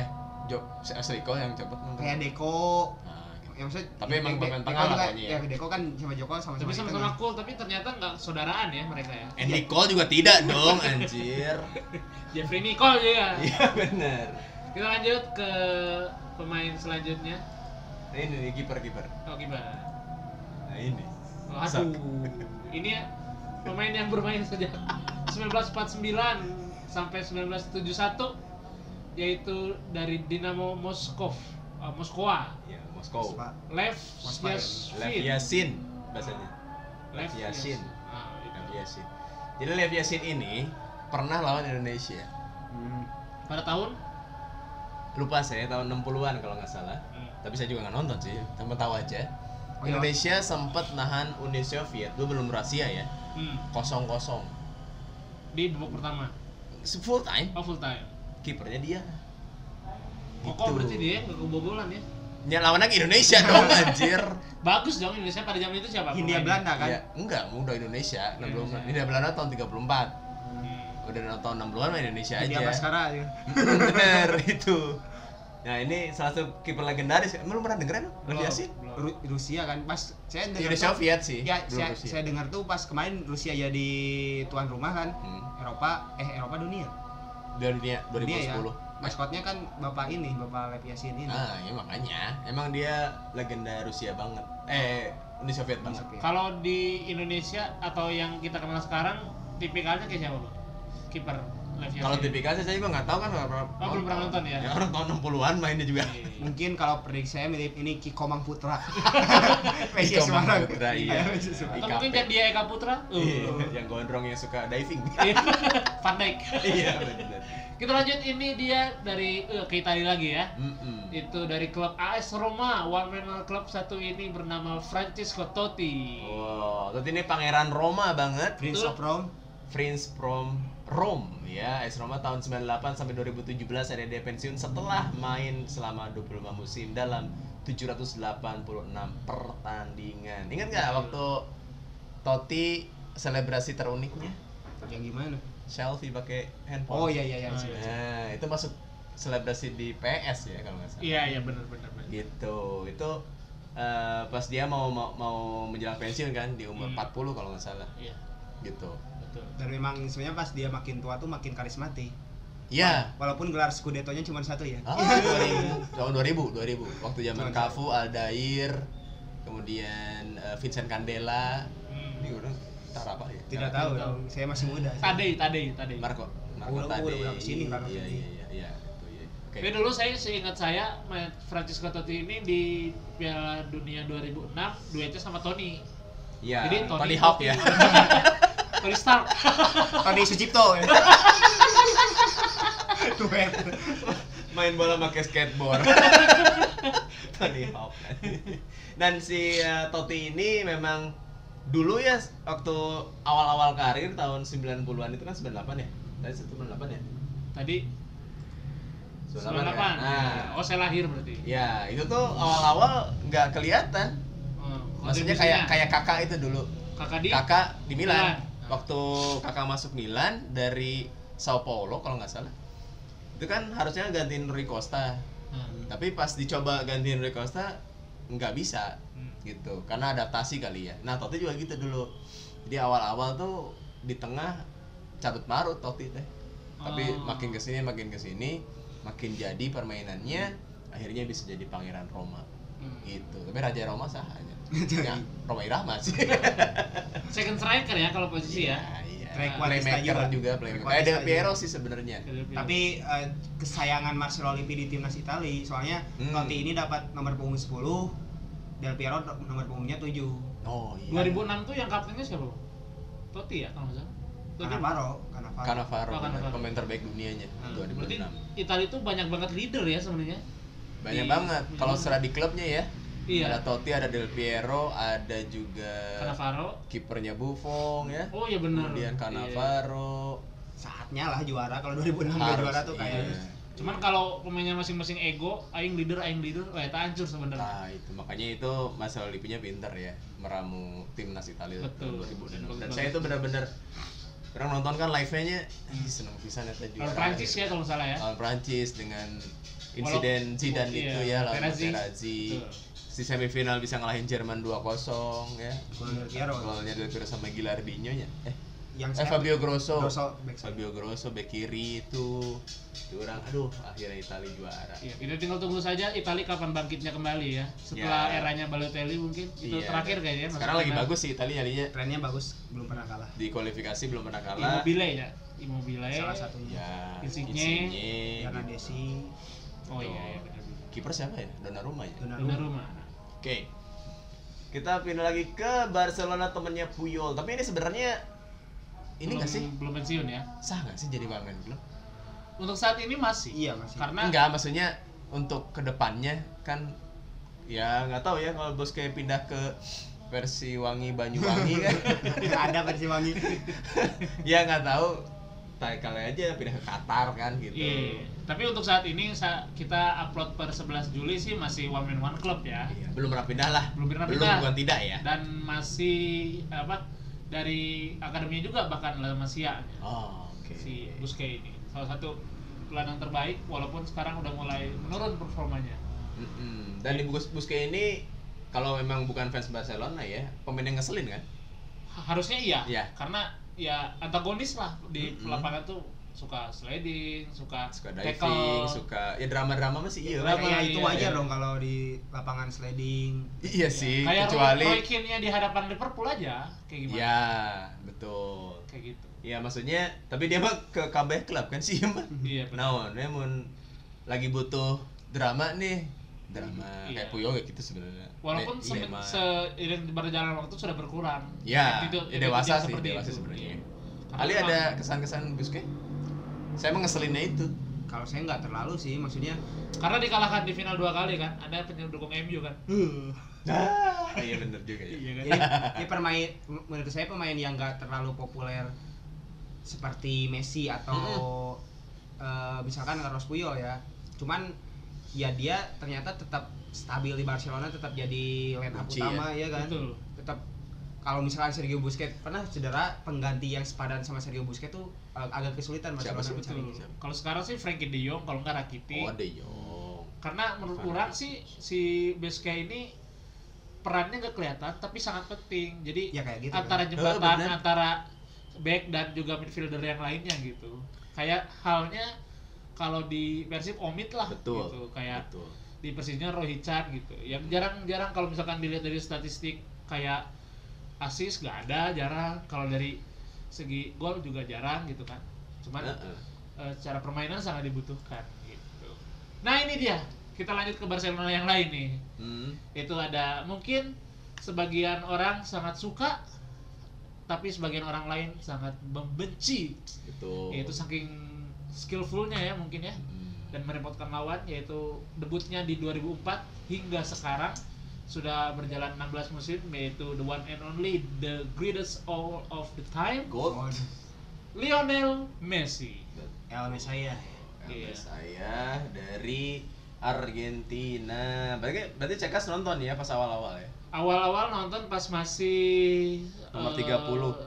Speaker 6: eh Jok Ashley Cole yang cepet mungkin.
Speaker 7: kayak Deko
Speaker 6: Nah, gitu.
Speaker 7: ya maksudnya
Speaker 6: Tapi emang
Speaker 7: Deko
Speaker 6: pemain
Speaker 7: juga-
Speaker 6: tengah lawannya ya.
Speaker 7: ya Deko kan sama kan. Jokol sama-sama
Speaker 1: Tapi
Speaker 7: di
Speaker 1: sama-sama
Speaker 7: tengah.
Speaker 1: cool, tapi ternyata nggak saudaraan ya mereka ya.
Speaker 6: Andy Cole juga tidak dong, anjir.
Speaker 1: Jeffrey Nicole juga.
Speaker 6: Iya benar.
Speaker 1: Kita lanjut ke pemain selanjutnya.
Speaker 6: Nah, Ini nih kiper kiper.
Speaker 1: Oh gimana?
Speaker 6: Nah ini.
Speaker 1: Oh, aduh, ini ya pemain yang bermain sejak 1949 sampai 1971 yaitu dari Dinamo Moskov, eh, Moskwa.
Speaker 6: Ya Moskow.
Speaker 7: Pak.
Speaker 1: Lev
Speaker 7: Moskwa ya?
Speaker 6: Lev
Speaker 1: Yashin.
Speaker 6: Yasin bahasanya. Lev Yashin.
Speaker 1: Ah,
Speaker 6: Lev
Speaker 1: itu.
Speaker 6: Yasin. Jadi Lev Yasin ini pernah lawan Indonesia.
Speaker 7: Hmm.
Speaker 1: Pada tahun
Speaker 6: Lupa saya tahun 60-an kalau nggak salah.
Speaker 7: Hmm.
Speaker 6: Tapi saya juga nggak nonton sih, cuma tahu aja.
Speaker 7: Oh, iya.
Speaker 6: Indonesia sempat nahan Uni Soviet, lu belum Rusia ya,
Speaker 1: hmm,
Speaker 6: kosong kosong.
Speaker 1: di babak pertama,
Speaker 6: Full time,
Speaker 1: oh, full time.
Speaker 6: kipernya dia.
Speaker 1: Kokoh
Speaker 6: Gitu.
Speaker 1: berarti dia nggak kebobolan ya.
Speaker 6: Ya lawan lagi Indonesia dong anjir.
Speaker 1: Bagus dong Indonesia pada zaman itu siapa?
Speaker 7: Hindia
Speaker 1: pemainnya?
Speaker 7: Belanda kan Iya,
Speaker 6: ya, enggak, udah Indonesia, enam puluh
Speaker 1: Indonesia.
Speaker 6: Ini Belanda tahun 34.
Speaker 1: Hmm.
Speaker 6: Udah tahun 60-an mah Indonesia
Speaker 7: Hindia
Speaker 6: aja.
Speaker 7: Baskara ya
Speaker 6: Bener itu. Nah, ini salah satu kiper legendaris. Emang lu pernah dengerin? Lu
Speaker 1: Belum,
Speaker 6: sih?
Speaker 1: belum.
Speaker 7: Ru- Rusia kan pas saya dengar
Speaker 6: Uni Soviet sih.
Speaker 7: ya
Speaker 6: Iya, belum
Speaker 7: saya,
Speaker 6: Rusia.
Speaker 7: saya dengar tuh pas kemarin Rusia jadi tuan rumah kan
Speaker 6: Hmm.
Speaker 7: Eropa eh Eropa dunia
Speaker 6: Dari dunia
Speaker 7: dunia ya
Speaker 6: 2010.
Speaker 7: maskotnya kan bapak ini bapak Lev Yashin ini
Speaker 6: Ah, ya makanya. Emang dia legenda Rusia banget. Eh, Uni Soviet banget.
Speaker 7: Masuk ya.
Speaker 1: Kalau di Indonesia atau yang kita kenal sekarang, tipikalnya kayak siapa, Bang? Kiper. Lev
Speaker 6: Kalau
Speaker 1: Yashin.
Speaker 6: tipikal sih saya juga nggak tahu kan orang
Speaker 1: Oh, belum pernah nonton ya? Iya.
Speaker 6: orang tahun 60-an mainnya juga.
Speaker 7: Mungkin kalau prediksi saya mirip ini Kikomang Putra.
Speaker 6: Iko
Speaker 7: Messi Semarang.
Speaker 6: Putra, iya.
Speaker 7: Messi Semarang.
Speaker 1: Atau
Speaker 6: IKP.
Speaker 1: mungkin kan dia Eka Putra?
Speaker 6: Iya,
Speaker 1: Uh.
Speaker 6: yang gondrong yang suka diving.
Speaker 1: Van Dijk.
Speaker 6: Iya, benar.
Speaker 1: Kita lanjut ini dia dari eh, ke Italia lagi ya.
Speaker 6: Mm-mm.
Speaker 1: Itu dari klub AS Roma, one man club satu ini bernama Francesco Totti.
Speaker 6: Oh. Wow, Totti ini pangeran Roma banget.
Speaker 7: Prince of Rome.
Speaker 6: Prince from Rome ya. AS Roma tahun 98 sampai 2017 ada dia pensiun setelah main selama 25 musim dalam 786 pertandingan. Ingat nggak waktu Totti selebrasi teruniknya?
Speaker 7: Yang gimana?
Speaker 6: Selfie pakai handphone.
Speaker 7: Oh iya iya iya.
Speaker 1: Ah, iya.
Speaker 6: Nah, itu masuk selebrasi di PS ya kalau nggak salah.
Speaker 1: Iya, iya benar benar benar.
Speaker 6: Gitu. Itu eh, pas dia mau, mau mau menjelang pensiun kan di umur
Speaker 1: Hmm.
Speaker 6: 40 kalau nggak salah
Speaker 1: Iya,
Speaker 6: gitu.
Speaker 1: betul.
Speaker 7: Dan memang sebenarnya pas dia makin tua tuh makin karismatik.
Speaker 6: Iya.
Speaker 7: Walaupun gelar Scudetto-nya cuma satu ya.
Speaker 6: Ah, 2000. tahun 2000, 2000. Waktu zaman
Speaker 7: Cuman
Speaker 6: Cafu, Aldair, kemudian eh, Vincent Candela. Ini orang tar apa ya?
Speaker 7: Tidak tahu dong, saya masih muda.
Speaker 1: Tadei, Tadei, Tadei.
Speaker 6: Marco, Marco
Speaker 7: Udah, udah,
Speaker 6: tadi.
Speaker 7: udah kesini, Marco
Speaker 6: Iya,
Speaker 7: tadi.
Speaker 6: iya, iya, iya. gitu, iya. Oke.
Speaker 1: Tapi dulu saya seingat saya main Francesco Totti ini di Piala Dunia 2006 duetnya sama Tony.
Speaker 6: Iya,
Speaker 1: Jadi Tony
Speaker 6: Tony Hawk ya.
Speaker 1: Tony Stark.
Speaker 7: Tony Sucipto. Duet.
Speaker 6: main bola pakai skateboard. Tony Hawk. Dan si eh, Totti ini memang dulu ya waktu awal-awal karir tahun 90-an itu kan 98 ya. Tadi 98 ya.
Speaker 1: Tadi
Speaker 6: 98.
Speaker 1: 98.
Speaker 6: ya? Nah,
Speaker 1: Oh, saya lahir berarti.
Speaker 6: ya itu tuh awal-awal nggak kelihatan.
Speaker 1: Hmm, kontribusinya.
Speaker 6: Maksudnya kayak kayak kakak itu dulu.
Speaker 1: kakak di
Speaker 6: Kakak di
Speaker 1: Milan.
Speaker 6: Milan. Waktu kakak masuk Milan dari Sao Paulo kalau nggak salah. Itu kan harusnya gantiin Rui Costa.
Speaker 1: Hmm.
Speaker 6: Tapi pas dicoba gantiin Rui Costa nggak bisa
Speaker 1: Hmm.
Speaker 6: gitu karena adaptasi kali ya. Nah Totti juga gitu dulu. Jadi awal-awal tuh di tengah carut marut Totti teh. Tapi
Speaker 1: Oh.
Speaker 6: makin kesini makin kesini makin jadi permainannya akhirnya bisa jadi pangeran Roma
Speaker 1: Hmm.
Speaker 6: gitu tapi raja Roma sah aja ya Roma Irama sih
Speaker 1: second striker ya kalau posisi ya.
Speaker 6: iya
Speaker 7: Drake Batista
Speaker 6: playmaker
Speaker 7: juga.
Speaker 6: juga
Speaker 7: Drake
Speaker 6: playmaker
Speaker 7: Batista
Speaker 6: eh Del
Speaker 7: juga.
Speaker 6: Piero sih sebenarnya
Speaker 7: Tapi eh, kesayangan Marcelo Lippi di timnas Itali, soalnya
Speaker 6: Hmm.
Speaker 7: Totti ini dapat nomor punggung 10, Del Piero nomor punggungnya 7.
Speaker 6: oh iya
Speaker 1: 2006 tuh yang kaptennya siapa? Bang? Totti ya kalau nggak salah. Totti.
Speaker 7: Cannavaro, Cannavaro.
Speaker 6: Cannavaro
Speaker 1: Oh,
Speaker 6: benar,
Speaker 1: Cannavaro.
Speaker 6: pemain terbaik dunianya
Speaker 1: Nah, berarti
Speaker 6: 2006
Speaker 1: Italia itu banyak banget leader ya sebenarnya.
Speaker 6: banyak
Speaker 1: di-
Speaker 6: banget
Speaker 1: di-
Speaker 6: kalau secara di klubnya ya
Speaker 1: Hmm. Iya.
Speaker 6: ada Totti ada Del Piero ada juga
Speaker 1: Cannavaro.
Speaker 6: kipernya Buffon ya
Speaker 1: Oh iya benar. Iya.
Speaker 6: kemudian Cannavaro
Speaker 7: Saatnya lah juara kalau 2006 dia
Speaker 6: Harus,
Speaker 7: juara tuh kayak
Speaker 6: iya.
Speaker 1: Cuman kalau pemainnya masing-masing ego, aing leader, aing leader, wah itu hancur sebenarnya.
Speaker 6: Nah, itu makanya itu Mas Olipinya pinter ya meramu timnas Italia tahun
Speaker 1: Betul.
Speaker 6: 2006. Dan
Speaker 1: Bagus banget.
Speaker 6: saya itu benar-benar orang nonton kan live-nya nya, ih seneng pisan ya tadi.
Speaker 1: Kalau Prancis ya kalau nggak salah ya.
Speaker 6: Lawan Prancis dengan insiden
Speaker 1: Walau-
Speaker 6: Zidane
Speaker 1: iya,
Speaker 6: itu ya lawan
Speaker 1: Materazzi.
Speaker 6: Materazzi.
Speaker 1: Betul.
Speaker 6: Di semifinal bisa ngalahin Jerman 2-0 ya.
Speaker 7: Gol Del
Speaker 1: Iya,
Speaker 7: Piero.
Speaker 6: Golnya Del Piero sama Gilardino nya. Eh,
Speaker 7: Yang
Speaker 6: eh, Fabio Grosso.
Speaker 7: Grosso back side.
Speaker 6: Fabio Grosso bek kiri itu. Di orang aduh akhirnya Italia juara.
Speaker 1: Iya, kita tinggal tunggu saja Italia kapan bangkitnya kembali ya. Setelah
Speaker 6: Ya.
Speaker 1: eranya Balotelli mungkin itu
Speaker 6: Iya,
Speaker 1: terakhir
Speaker 6: dan
Speaker 1: kayaknya. kan?
Speaker 6: Sekarang lagi bagus sih Italia nyalinya.
Speaker 7: Trennya bagus, belum pernah kalah.
Speaker 6: di kualifikasi belum pernah kalah.
Speaker 1: Immobile ya, Immobile.
Speaker 7: Salah satunya.
Speaker 6: Ya,
Speaker 1: Insigne. Iya, kan?
Speaker 6: Insigne,
Speaker 7: Karena
Speaker 6: gitu.
Speaker 7: Desi,
Speaker 1: Oh iya, iya benar.
Speaker 6: Kiper siapa ya? Donnarumma
Speaker 1: Iya.
Speaker 6: ya.
Speaker 7: Donnarumma.
Speaker 1: Donnarumma.
Speaker 6: Oke. Kita pindah lagi ke Barcelona temennya Puyol. Tapi ini sebenarnya ini
Speaker 1: Belum-
Speaker 6: nggak sih
Speaker 1: belum pensiun ya.
Speaker 6: sah nggak sih jadi bangun klub?
Speaker 1: Untuk saat ini masih.
Speaker 7: Iya masih.
Speaker 1: Karena
Speaker 6: Enggak, maksudnya untuk kedepannya kan ya nggak tahu ya kalau bos kayak pindah ke versi wangi Banyuwangi kan
Speaker 7: ada Persiwangi.
Speaker 6: ya nggak tahu Tai- kali aja pindah ke Qatar kan gitu
Speaker 1: Iya, tapi untuk saat ini sa- kita upload per 11 Juli sih masih one man one club ya.
Speaker 6: Iya, belum pernah pindah lah
Speaker 1: Belum pernah
Speaker 6: belum
Speaker 1: pindah.
Speaker 6: bukan tidak ya
Speaker 1: Dan masih apa dari akademinya juga bahkan La Masia
Speaker 6: oh, oke
Speaker 1: si Busquets ini. Salah satu gelandang terbaik walaupun sekarang udah mulai menurun performanya.
Speaker 6: Mm-mm. Dan di Bus Busquets ini kalau memang bukan fans Barcelona ya, pemain yang ngeselin kan?
Speaker 1: Ha- Harusnya iya,
Speaker 6: Iya.
Speaker 1: karena ya antagonis lah di
Speaker 6: Mm-mm.
Speaker 1: lapangan tuh suka sliding, suka,
Speaker 6: Suka diving, suka ya drama-drama masih iya.
Speaker 1: Drama,
Speaker 6: kan?
Speaker 7: Kayak itu
Speaker 1: iya,
Speaker 7: wajar
Speaker 6: iya.
Speaker 7: dong kalau di lapangan sliding.
Speaker 6: Iya sih,
Speaker 1: Kayak
Speaker 6: kecuali Iya.
Speaker 1: Roy Keane-nya di hadapan Liverpool aja kayak gimana?
Speaker 6: ya betul.
Speaker 1: Kayak gitu.
Speaker 6: Ya maksudnya, tapi dia mah ke kabeh klub kan sih mah.
Speaker 1: Iya, benar.
Speaker 6: Naon, we mun lagi butuh drama nih. Drama
Speaker 1: Iya.
Speaker 6: kayak Puyo kayak gitu sebenarnya.
Speaker 1: Walaupun
Speaker 6: Ne-
Speaker 1: semen-
Speaker 6: dilema.
Speaker 1: seiring berjalan waktu sudah berkurang.
Speaker 6: Ya,
Speaker 1: Attitude-
Speaker 6: ya
Speaker 1: attitude
Speaker 6: dewasa
Speaker 1: dia
Speaker 6: sih,
Speaker 1: seperti
Speaker 6: dewasa
Speaker 1: itu.
Speaker 6: sebenarnya.
Speaker 1: Iya. Karena
Speaker 6: Ali
Speaker 1: memang-
Speaker 6: ada kesan-kesan Busquets? Saya emang ngeselinnya itu.
Speaker 7: Kalau saya nggak terlalu sih, maksudnya
Speaker 1: Karena dikalahkan di final dua kali kan, ada pendukung MU kan.
Speaker 6: Ah, iya bener juga ya.
Speaker 7: jadi ini pemain menurut saya pemain yang nggak terlalu populer seperti Messi atau eh, misalkan Carlos Puyol ya. Cuman ya dia ternyata tetap stabil di Barcelona, tetap jadi line up
Speaker 6: Kunci
Speaker 7: utama ya, kan.
Speaker 1: Betul.
Speaker 7: Tetap kalau misalkan Sergio Busquets pernah cedera, pengganti yang sepadan sama Sergio Busquets tuh eh, agak kesulitan
Speaker 6: Siapa
Speaker 7: Barcelona
Speaker 6: sih?
Speaker 7: mencari.
Speaker 1: Betul. Kalau sekarang sih Frankie De Jong, kalau nggak Rakitic.
Speaker 6: Oh, De Jong.
Speaker 1: Karena menurut
Speaker 6: Fernandes.
Speaker 1: orang sih si Busquets ini perannya nggak kelihatan tapi sangat penting. Jadi
Speaker 7: Ya kayak gitu. kan.
Speaker 1: antara
Speaker 6: Oh,
Speaker 1: jembatan
Speaker 6: bener.
Speaker 1: antara back dan juga midfielder yang lainnya gitu. Kayak halnya kalau di Persib Omid lah
Speaker 6: Betul.
Speaker 1: gitu. Kayak
Speaker 6: Betul.
Speaker 1: di Persisnya Rohican gitu. Yang jarang-jarang kalau misalkan dilihat dari statistik kayak asis nggak ada jarang kalau dari segi gol juga jarang gitu kan. Cuman
Speaker 6: Heeh.
Speaker 1: eh, secara permainan sangat dibutuhkan gitu. Nah, ini dia. Kita lanjut ke Barcelona yang lain nih.
Speaker 6: Hmm.
Speaker 1: Itu ada mungkin sebagian orang sangat suka tapi sebagian orang lain sangat membenci.
Speaker 6: Betul.
Speaker 1: Yaitu saking skillfulnya ya mungkin ya
Speaker 6: Hmm.
Speaker 1: dan merepotkan lawan yaitu debutnya di 2004 hingga sekarang sudah berjalan 16 musim yaitu the one and only the greatest all of the time
Speaker 6: Gold.
Speaker 7: Waduh,
Speaker 1: Lionel Messi.
Speaker 7: El saya.
Speaker 1: Iya.
Speaker 6: Iya. Saya dari Argentina. Berarti berarti Cekas nonton ya pas awal-awal ya.
Speaker 1: Awal-awal nonton pas masih
Speaker 6: Nomor
Speaker 1: eh,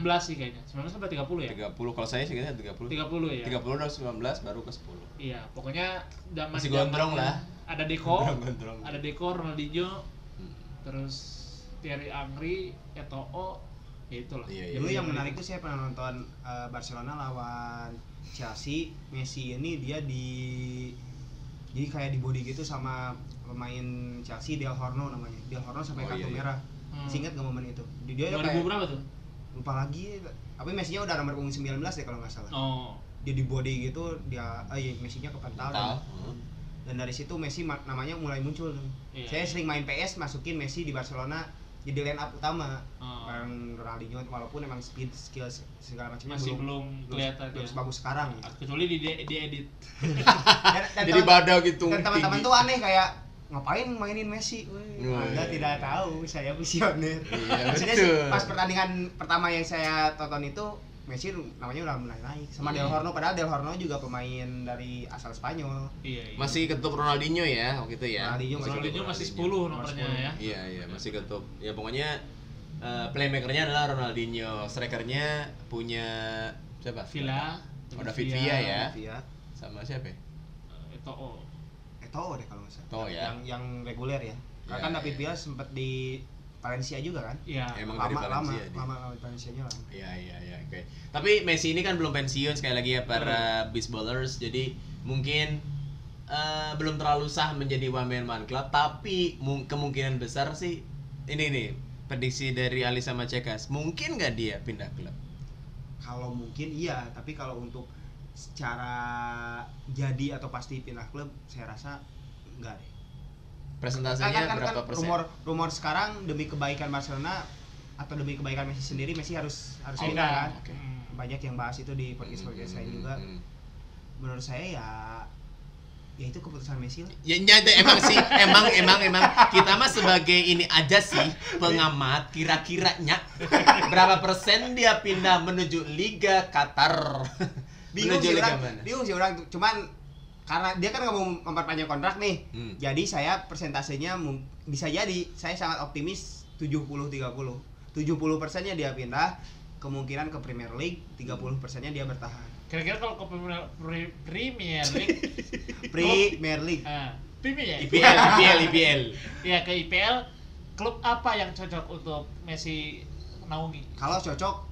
Speaker 1: 19 sih kayaknya. 19 sampai 30 ya?
Speaker 6: 30 kalau saya sekitar 30. 30
Speaker 7: iya.
Speaker 1: 30 ya.
Speaker 6: dari 19 baru ke 10.
Speaker 1: Iya, pokoknya zaman
Speaker 6: Masih gondrong lah.
Speaker 1: Ada Deco,
Speaker 6: Gondrong-gondrong.
Speaker 1: ada Deco, Ronaldinho,
Speaker 6: Hmm.
Speaker 1: terus Thierry Angri, Eto'o, ya itulah.
Speaker 6: Iya, iya.
Speaker 7: Dulu yang
Speaker 1: Zaman
Speaker 7: menarik
Speaker 1: itu.
Speaker 7: tuh saya pernah nonton eh, Barcelona lawan Chelsea. Messi ini dia di jadi kayak di body gitu sama pemain Chelsea Del Horno namanya. Del Horno sampai
Speaker 6: Oh,
Speaker 7: kartu
Speaker 6: iya, iya.
Speaker 7: merah.
Speaker 1: Hmm.
Speaker 7: Singkat nggak momen itu.
Speaker 1: 2000
Speaker 7: Dia- Dia Iya, kayak
Speaker 1: berapa tuh?
Speaker 7: lupa lagi. Tapi Messi-nya udah nomor punggung 19 deh kalau nggak salah.
Speaker 1: Oh,
Speaker 7: Dia di body gitu dia ah iya Messi-nya kepental. Dan,
Speaker 6: Total. Hmm.
Speaker 7: dan dari situ Messi ma- namanya mulai muncul. tuh.
Speaker 1: Iya.
Speaker 7: Saya sering main PS masukin Messi di Barcelona jadi line up utama
Speaker 1: Oh.
Speaker 7: bareng Ronaldinho walaupun emang speed skill se- segala macamnya
Speaker 1: masih belum kelihatan
Speaker 7: belum
Speaker 1: ya.
Speaker 7: sebagus sekarang gitu.
Speaker 1: Kecuali di di, di edit.
Speaker 7: dan, dan
Speaker 6: Jadi
Speaker 7: teman-
Speaker 6: badau gitu.
Speaker 7: dan teman-teman
Speaker 6: tinggi.
Speaker 7: tuh aneh kayak ngapain mainin Messi? Weh,
Speaker 6: Wih.
Speaker 7: Anda tidak tahu, saya visioner.
Speaker 6: Iya,
Speaker 7: Maksudnya sih,
Speaker 6: betul.
Speaker 7: pas pertandingan pertama yang saya tonton itu Messi namanya udah mulai naik sama
Speaker 1: Iya.
Speaker 7: Del Horno padahal Del Horno juga pemain dari asal Spanyol.
Speaker 1: Iya, iya.
Speaker 6: masih ketuk Ronaldinho ya waktu itu ya.
Speaker 7: Ronaldinho
Speaker 6: Masih ketuk
Speaker 1: Ronaldinho masih 10
Speaker 6: Ronaldinho.
Speaker 1: nomornya ya.
Speaker 6: Iya iya masih ketuk. Ya pokoknya eh, playmakernya adalah Ronaldinho, strikernya punya siapa?
Speaker 1: Villa, eh, oh,
Speaker 6: Oh, David Villa ya.
Speaker 7: Iya.
Speaker 6: Sama siapa? ya?
Speaker 1: Eto'o.
Speaker 7: Eto'o Eh, deh kalau nggak salah.
Speaker 6: Eto'o ya.
Speaker 7: Yang yang reguler ya. Karena
Speaker 6: Ya,
Speaker 7: kan
Speaker 6: ya,
Speaker 7: David
Speaker 6: ya.
Speaker 7: Villa sempat di Valencia juga kan?
Speaker 1: Iya.
Speaker 6: Emang dari
Speaker 7: lama, lama,
Speaker 6: Valencia dia.
Speaker 7: lama lama di Valencia-nya lama.
Speaker 6: Iya iya iya oke. Tapi Messi ini kan belum pensiun sekali lagi ya
Speaker 7: Hmm.
Speaker 6: para baseballers jadi mungkin eh, belum terlalu sah menjadi one man man club tapi mung- kemungkinan besar sih ini nih prediksi dari Ali sama Cekas mungkin nggak dia pindah klub
Speaker 7: kalau mungkin iya tapi kalau untuk secara jadi atau pasti pindah klub saya rasa enggak deh kan,
Speaker 6: presentasenya berapa persen
Speaker 7: rumor rumor sekarang demi kebaikan Barcelona atau demi kebaikan Messi sendiri Messi harus harus
Speaker 6: Oh,
Speaker 7: pindah kan
Speaker 6: oke.
Speaker 1: Hmm.
Speaker 7: banyak yang bahas itu di podcast
Speaker 6: Hmm,
Speaker 7: podcast
Speaker 6: hmm,
Speaker 7: saya
Speaker 6: hmm,
Speaker 7: juga
Speaker 6: hmm.
Speaker 7: menurut saya ya ya itu keputusan Messi lah
Speaker 6: Ya, ya, ya, emang sih, emang, emang, emang kita mah sebagai ini aja sih pengamat kira-kiranya berapa persen dia pindah menuju Liga Qatar,
Speaker 7: bingung
Speaker 6: menuju
Speaker 7: sih
Speaker 6: Liga
Speaker 7: orang
Speaker 6: mana?
Speaker 7: bingung sih orang cuman karena dia kan nggak mau memperpanjang kontrak nih
Speaker 6: Hmm.
Speaker 7: jadi saya persentasenya mung- bisa jadi saya sangat optimis 70 30 70 persennya dia pindah kemungkinan ke Premier League 30 persennya dia bertahan
Speaker 1: Kira-kira kalau ke Premier- Pre- Premier League,
Speaker 7: Premier League
Speaker 1: ah, Premier ya?
Speaker 6: IPL, IPL, IPL.
Speaker 1: Ya ke IPL, klub apa yang cocok untuk Messi naungi?
Speaker 7: kalau cocok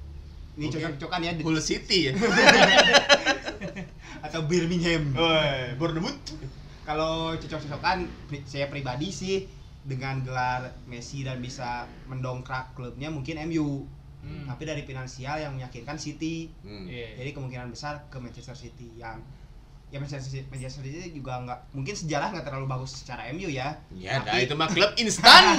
Speaker 7: ini
Speaker 6: Oke.
Speaker 7: cocok-cocokan ya di-
Speaker 6: Hull City ya.
Speaker 7: atau Birmingham
Speaker 6: Woi, Bournemouth.
Speaker 7: kalau cocok-cocokan pri- saya pribadi sih dengan gelar Messi dan bisa mendongkrak klubnya mungkin MU
Speaker 1: Hmm.
Speaker 7: tapi dari finansial yang meyakinkan City
Speaker 6: Hmm.
Speaker 1: Iya.
Speaker 7: jadi kemungkinan besar ke Manchester City yang ya Manchester City, Manchester City juga nggak mungkin sejarah nggak terlalu bagus secara MU ya
Speaker 6: Ya, dah
Speaker 7: tapi,
Speaker 6: itu mah klub instan.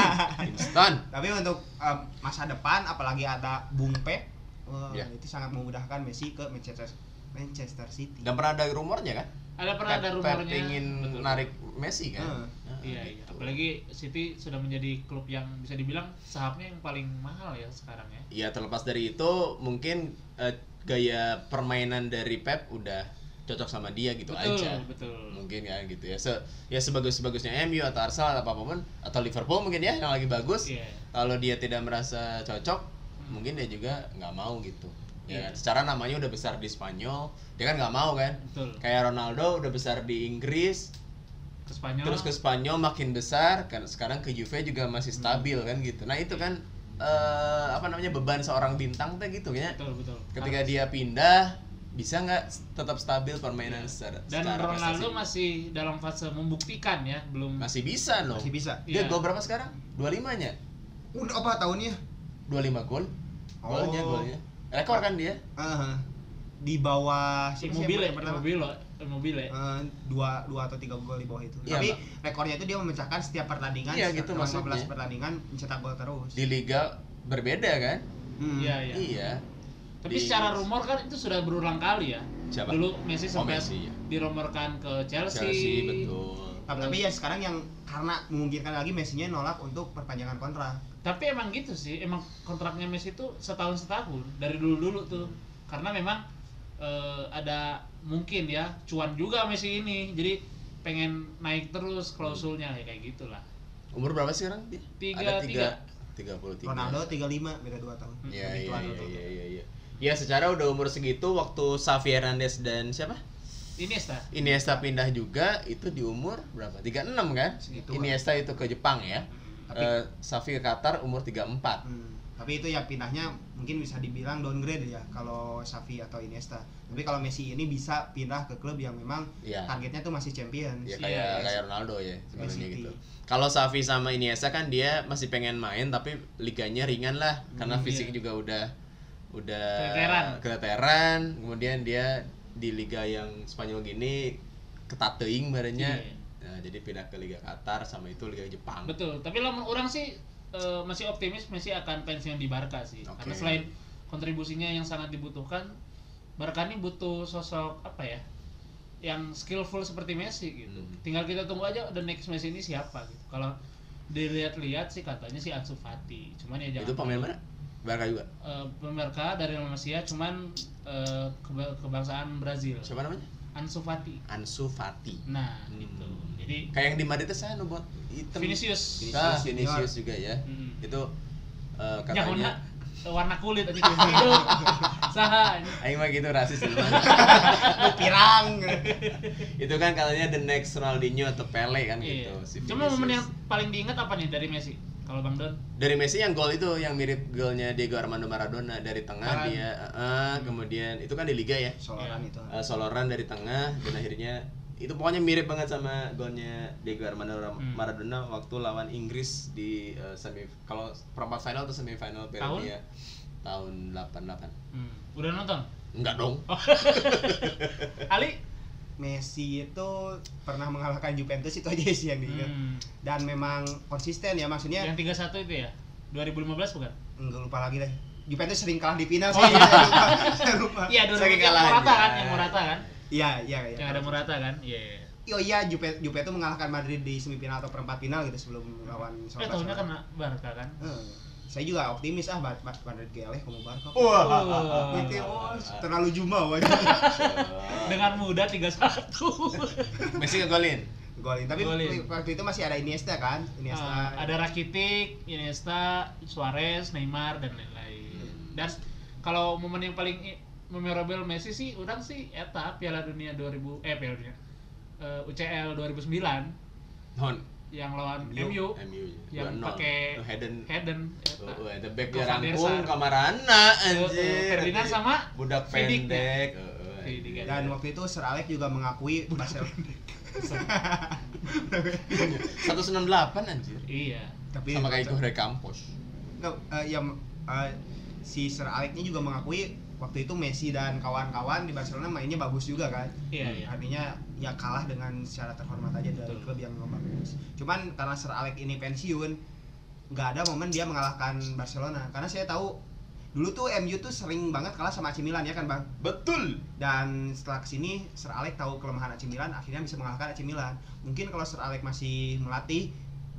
Speaker 6: instan.
Speaker 7: tapi untuk em, masa depan apalagi ada Bung Pep eh,
Speaker 6: Iya.
Speaker 7: itu sangat memudahkan Messi ke Manchester Manchester City
Speaker 6: Dan pernah ada rumornya kan?
Speaker 1: Ada pernah ada
Speaker 6: Pep- Pep
Speaker 1: rumornya.
Speaker 6: pengin
Speaker 1: Betul.
Speaker 6: narik Messi kan?
Speaker 7: Hmm.
Speaker 6: Nah,
Speaker 1: Iya, iya.
Speaker 6: gitu.
Speaker 1: Apalagi City sudah menjadi klub yang bisa dibilang sahamnya yang paling mahal ya sekarang ya.
Speaker 6: Ya terlepas dari itu mungkin eh, gaya permainan dari Pep udah cocok sama dia gitu
Speaker 1: betul,
Speaker 6: aja.
Speaker 1: betul.
Speaker 6: Mungkin kan gitu ya. Se ya sebagus-bagusnya MU atau Arsenal atau apapun atau Liverpool mungkin ya yang lagi bagus.
Speaker 1: Iya. Hmm.
Speaker 6: Kalau dia tidak merasa cocok, mungkin dia juga nggak mau gitu.
Speaker 1: Iya.
Speaker 6: Ya, kan? secara namanya udah besar di Spanyol, dia kan nggak mau kan?
Speaker 1: Betul.
Speaker 6: Kayak Ronaldo udah besar di Inggris,
Speaker 1: Ke Spanyol.
Speaker 6: terus ke Spanyol makin besar karena sekarang ke Juve juga masih
Speaker 1: Hmm.
Speaker 6: stabil kan gitu nah itu kan eh, apa namanya beban seorang bintang teh gitu ya
Speaker 1: betul, betul.
Speaker 6: ketika dia pindah bisa nggak s- tetap stabil permainan
Speaker 1: Iya.
Speaker 6: secara
Speaker 1: dan
Speaker 6: secara
Speaker 1: Ronaldo
Speaker 6: prestasi?
Speaker 1: masih dalam fase membuktikan ya, belum
Speaker 6: masih bisa loh
Speaker 7: masih bisa
Speaker 6: dia
Speaker 1: Iya.
Speaker 6: gol berapa sekarang 25 nya
Speaker 7: udah apa tahunnya
Speaker 6: 25 gol golnya
Speaker 7: Oh.
Speaker 6: golnya rekor kan dia
Speaker 7: Eh, di bawah siapa sih yang
Speaker 1: Immobile, ya?
Speaker 7: yang pertama?
Speaker 1: Immobile, Immobile.
Speaker 7: Eh, dua dua atau tiga gol di bawah itu.
Speaker 6: Iya,
Speaker 7: Tapi
Speaker 6: Pak.
Speaker 7: rekornya itu dia memecahkan setiap pertandingan,
Speaker 6: Iya,
Speaker 7: setiap
Speaker 6: gitu
Speaker 7: 15
Speaker 6: maksudnya.
Speaker 7: pertandingan mencetak gol terus.
Speaker 6: di liga berbeda kan
Speaker 7: Hmm.
Speaker 1: Iya, iya.
Speaker 6: iya
Speaker 1: Tapi
Speaker 6: Di-
Speaker 1: secara rumor kan itu sudah berulang kali ya.
Speaker 6: Siapa?
Speaker 1: Dulu Messi
Speaker 6: Oh,
Speaker 1: sampai
Speaker 6: Messi, iya.
Speaker 1: dirumorkan ke Chelsea.
Speaker 6: Chelsea betul
Speaker 7: Tapi, tapi ya sekarang yang karena memungkinkan lagi Messinya nolak untuk perpanjangan kontrak.
Speaker 1: Tapi emang gitu sih, emang kontraknya Messi itu setahun setahun dari dulu dulu tuh. Karena memang eh, ada mungkin ya cuan juga Messi ini. Jadi pengen naik terus klausulnya ya kayak gitulah.
Speaker 6: umur berapa sih sekarang dia
Speaker 1: Tiga,
Speaker 6: ada tiga tiga puluh tiga
Speaker 7: Ronaldo 35 beda 2 tahun.
Speaker 6: Iya
Speaker 7: Lebih
Speaker 6: iya
Speaker 7: tua
Speaker 6: iya
Speaker 7: dua tahun.
Speaker 6: iya iya. iya. Ya secara udah umur segitu waktu Xavi Hernandez dan siapa?
Speaker 1: Ini Sta.
Speaker 6: Iniesta pindah juga itu di umur berapa? 36 kan?
Speaker 7: Segitu,
Speaker 6: Iniesta itu ke Jepang ya.
Speaker 7: Tapi-
Speaker 6: Eh, Xavi ke Qatar umur 34.
Speaker 7: Hmm. Tapi itu ya pindahnya mungkin bisa dibilang downgrade ya kalau Xavi atau Iniesta. Tapi kalau Messi ini bisa pindah ke klub yang memang
Speaker 6: Iya.
Speaker 7: targetnya tuh masih champion.
Speaker 6: Ya
Speaker 1: Iya,
Speaker 6: kayak
Speaker 1: iya.
Speaker 6: kayak Ronaldo ya sebenarnya
Speaker 7: City.
Speaker 6: gitu. Kalau Xavi sama Iniesta kan dia masih pengen main tapi liganya ringan lah
Speaker 1: Hmm, iya.
Speaker 6: karena fisik juga udah udah
Speaker 1: Keteteran.
Speaker 6: keteteran. Kemudian dia di liga yang Spanyol gini ketat teuing badannya.
Speaker 1: Iya.
Speaker 6: Nah, jadi pindah ke Liga Qatar sama itu Liga Jepang.
Speaker 1: Betul, tapi lamun orang sih eh, masih optimis Messi akan pensiun di Barca sih.
Speaker 6: Oke.
Speaker 1: Karena selain kontribusinya yang sangat dibutuhkan, Barca ini butuh sosok apa ya? Yang skillful seperti Messi gitu.
Speaker 6: Hmm.
Speaker 1: Tinggal kita tunggu aja the next Messi ini siapa gitu. Kalau dilihat-lihat sih katanya sih Ansu Fati. Cuman ya jangan
Speaker 6: Itu pemain mana? Barca juga.
Speaker 1: Eh, pemain Barca dari Malaysia cuman eh, keba- kebangsaan Brazil.
Speaker 6: Siapa namanya?
Speaker 1: Ansu Fati.
Speaker 6: Ansu Fati.
Speaker 1: Nah,
Speaker 6: Hmm.
Speaker 1: gitu. Jadi
Speaker 6: Kayak yang di Madrid itu saya buat hitam.
Speaker 1: Vinicius. Hmm.
Speaker 6: Ah,
Speaker 7: Vinicius
Speaker 6: Vinicius juga ya.
Speaker 1: Mm-mm.
Speaker 6: Itu eh,
Speaker 1: Ya, warna,
Speaker 6: katanya
Speaker 1: warna kulit aja gitu. Saha.
Speaker 6: Aing mah gitu rasis emang.
Speaker 7: Lu pirang.
Speaker 6: itu kan katanya the next Ronaldinho atau Pele kan
Speaker 1: Iya.
Speaker 6: gitu si
Speaker 1: Cuma momen yang
Speaker 6: Vinicius.
Speaker 1: paling diingat apa nih dari Messi? Kalau Bang Don?
Speaker 6: dari Messi yang gol itu yang mirip golnya Diego Armando Maradona dari tengah
Speaker 7: Kanan.
Speaker 6: dia eh, eh,
Speaker 1: Hmm.
Speaker 6: kemudian itu kan di liga ya.
Speaker 7: Soloran
Speaker 1: Iya.
Speaker 7: itu.
Speaker 6: Eh, soloran dari tengah dan akhirnya itu pokoknya mirip banget sama golnya Diego Armando Ra-
Speaker 1: Hmm.
Speaker 6: Maradona waktu lawan Inggris di eh, semi kalau perempat final atau semifinal
Speaker 1: Tahun?
Speaker 6: Piala Dunia tahun 88.
Speaker 1: Hmm. Udah nonton?
Speaker 6: Enggak dong.
Speaker 1: Ali?
Speaker 7: Messi itu pernah mengalahkan Juventus itu aja sih yang diingat.
Speaker 1: Hmm.
Speaker 7: Dan memang konsisten ya maksudnya
Speaker 1: Yang 31 itu ya? 2015 bukan?
Speaker 7: enggak lupa lagi deh. Juventus sering kalah di final sih.
Speaker 1: Oh, iya.
Speaker 7: saya lupa. Saya lupa.
Speaker 1: Iya,
Speaker 6: Saking
Speaker 1: 2015
Speaker 6: kalahnya.
Speaker 1: Morata kan? Yang Morata kan?
Speaker 7: Iya, iya, iya.
Speaker 1: Yang ada Morata kan? Iya. iya.
Speaker 7: Oh iya, Juve Juve itu mengalahkan Madrid di semifinal atau perempat final gitu sebelum lawan
Speaker 1: Eh,
Speaker 7: Soloran.
Speaker 1: tahunnya kena Barca kan?
Speaker 7: Hmm. Saya juga optimis ah Bar- Bar- Madrid geleh kamu Barca.
Speaker 1: Oh, Wah.
Speaker 7: Nanti, oh,
Speaker 1: iya.
Speaker 7: terlalu jumawa aja.
Speaker 1: Dengan muda 31.
Speaker 6: Messi ngegolin.
Speaker 7: Golin. Tapi
Speaker 1: Golin.
Speaker 7: waktu itu masih ada Iniesta kan? Iniesta.
Speaker 6: ya.
Speaker 1: Ah, ada Rakitic, Iniesta, Suarez, Neymar dan lain-lain.
Speaker 6: Hmm.
Speaker 1: Dan kalau momen yang paling i- memorable Messi sih orang sih eta Piala Dunia 2000 eh Piala Dunia eh, UCL 2009
Speaker 6: Non.
Speaker 1: yang lawan
Speaker 7: MU.
Speaker 1: MU
Speaker 6: MU.
Speaker 1: yang
Speaker 6: 2-0.
Speaker 1: pakai
Speaker 6: Oh, Hayden.
Speaker 1: Hayden eta.
Speaker 6: Oh, the back
Speaker 1: Go
Speaker 6: dia
Speaker 1: Van der
Speaker 6: rangkung
Speaker 1: Sar.
Speaker 6: kamarana
Speaker 1: Eh,
Speaker 6: anjir.
Speaker 1: Ferdinand sama
Speaker 6: budak
Speaker 1: Vidic,
Speaker 6: pendek. Heeh,
Speaker 1: Vidic,
Speaker 6: anjir.
Speaker 7: Dan waktu itu Sir Alex juga mengakui Barcelona. Tapi-
Speaker 6: 198 anjir.
Speaker 1: Iya.
Speaker 7: Tapi
Speaker 6: Sama kayak gue dari kampus.
Speaker 7: Nggak, eh, yang eh, si Sir Alex-nya juga mengakui waktu itu Messi dan kawan-kawan di Barcelona mainnya bagus juga kan.
Speaker 1: Iya, iya.
Speaker 7: Artinya ya kalah dengan secara terhormat aja dari
Speaker 1: Betul.
Speaker 7: klub yang bagus. Cuman karena Sir Alex ini pensiun, nggak ada momen dia mengalahkan Barcelona. Karena saya tahu dulu tuh MU tuh sering banget kalah sama AC Milan ya kan bang.
Speaker 6: Betul.
Speaker 7: Dan setelah kesini Sir Alex tahu kelemahan AC Milan, akhirnya bisa mengalahkan AC Milan. Mungkin kalau Sir Alex masih melatih,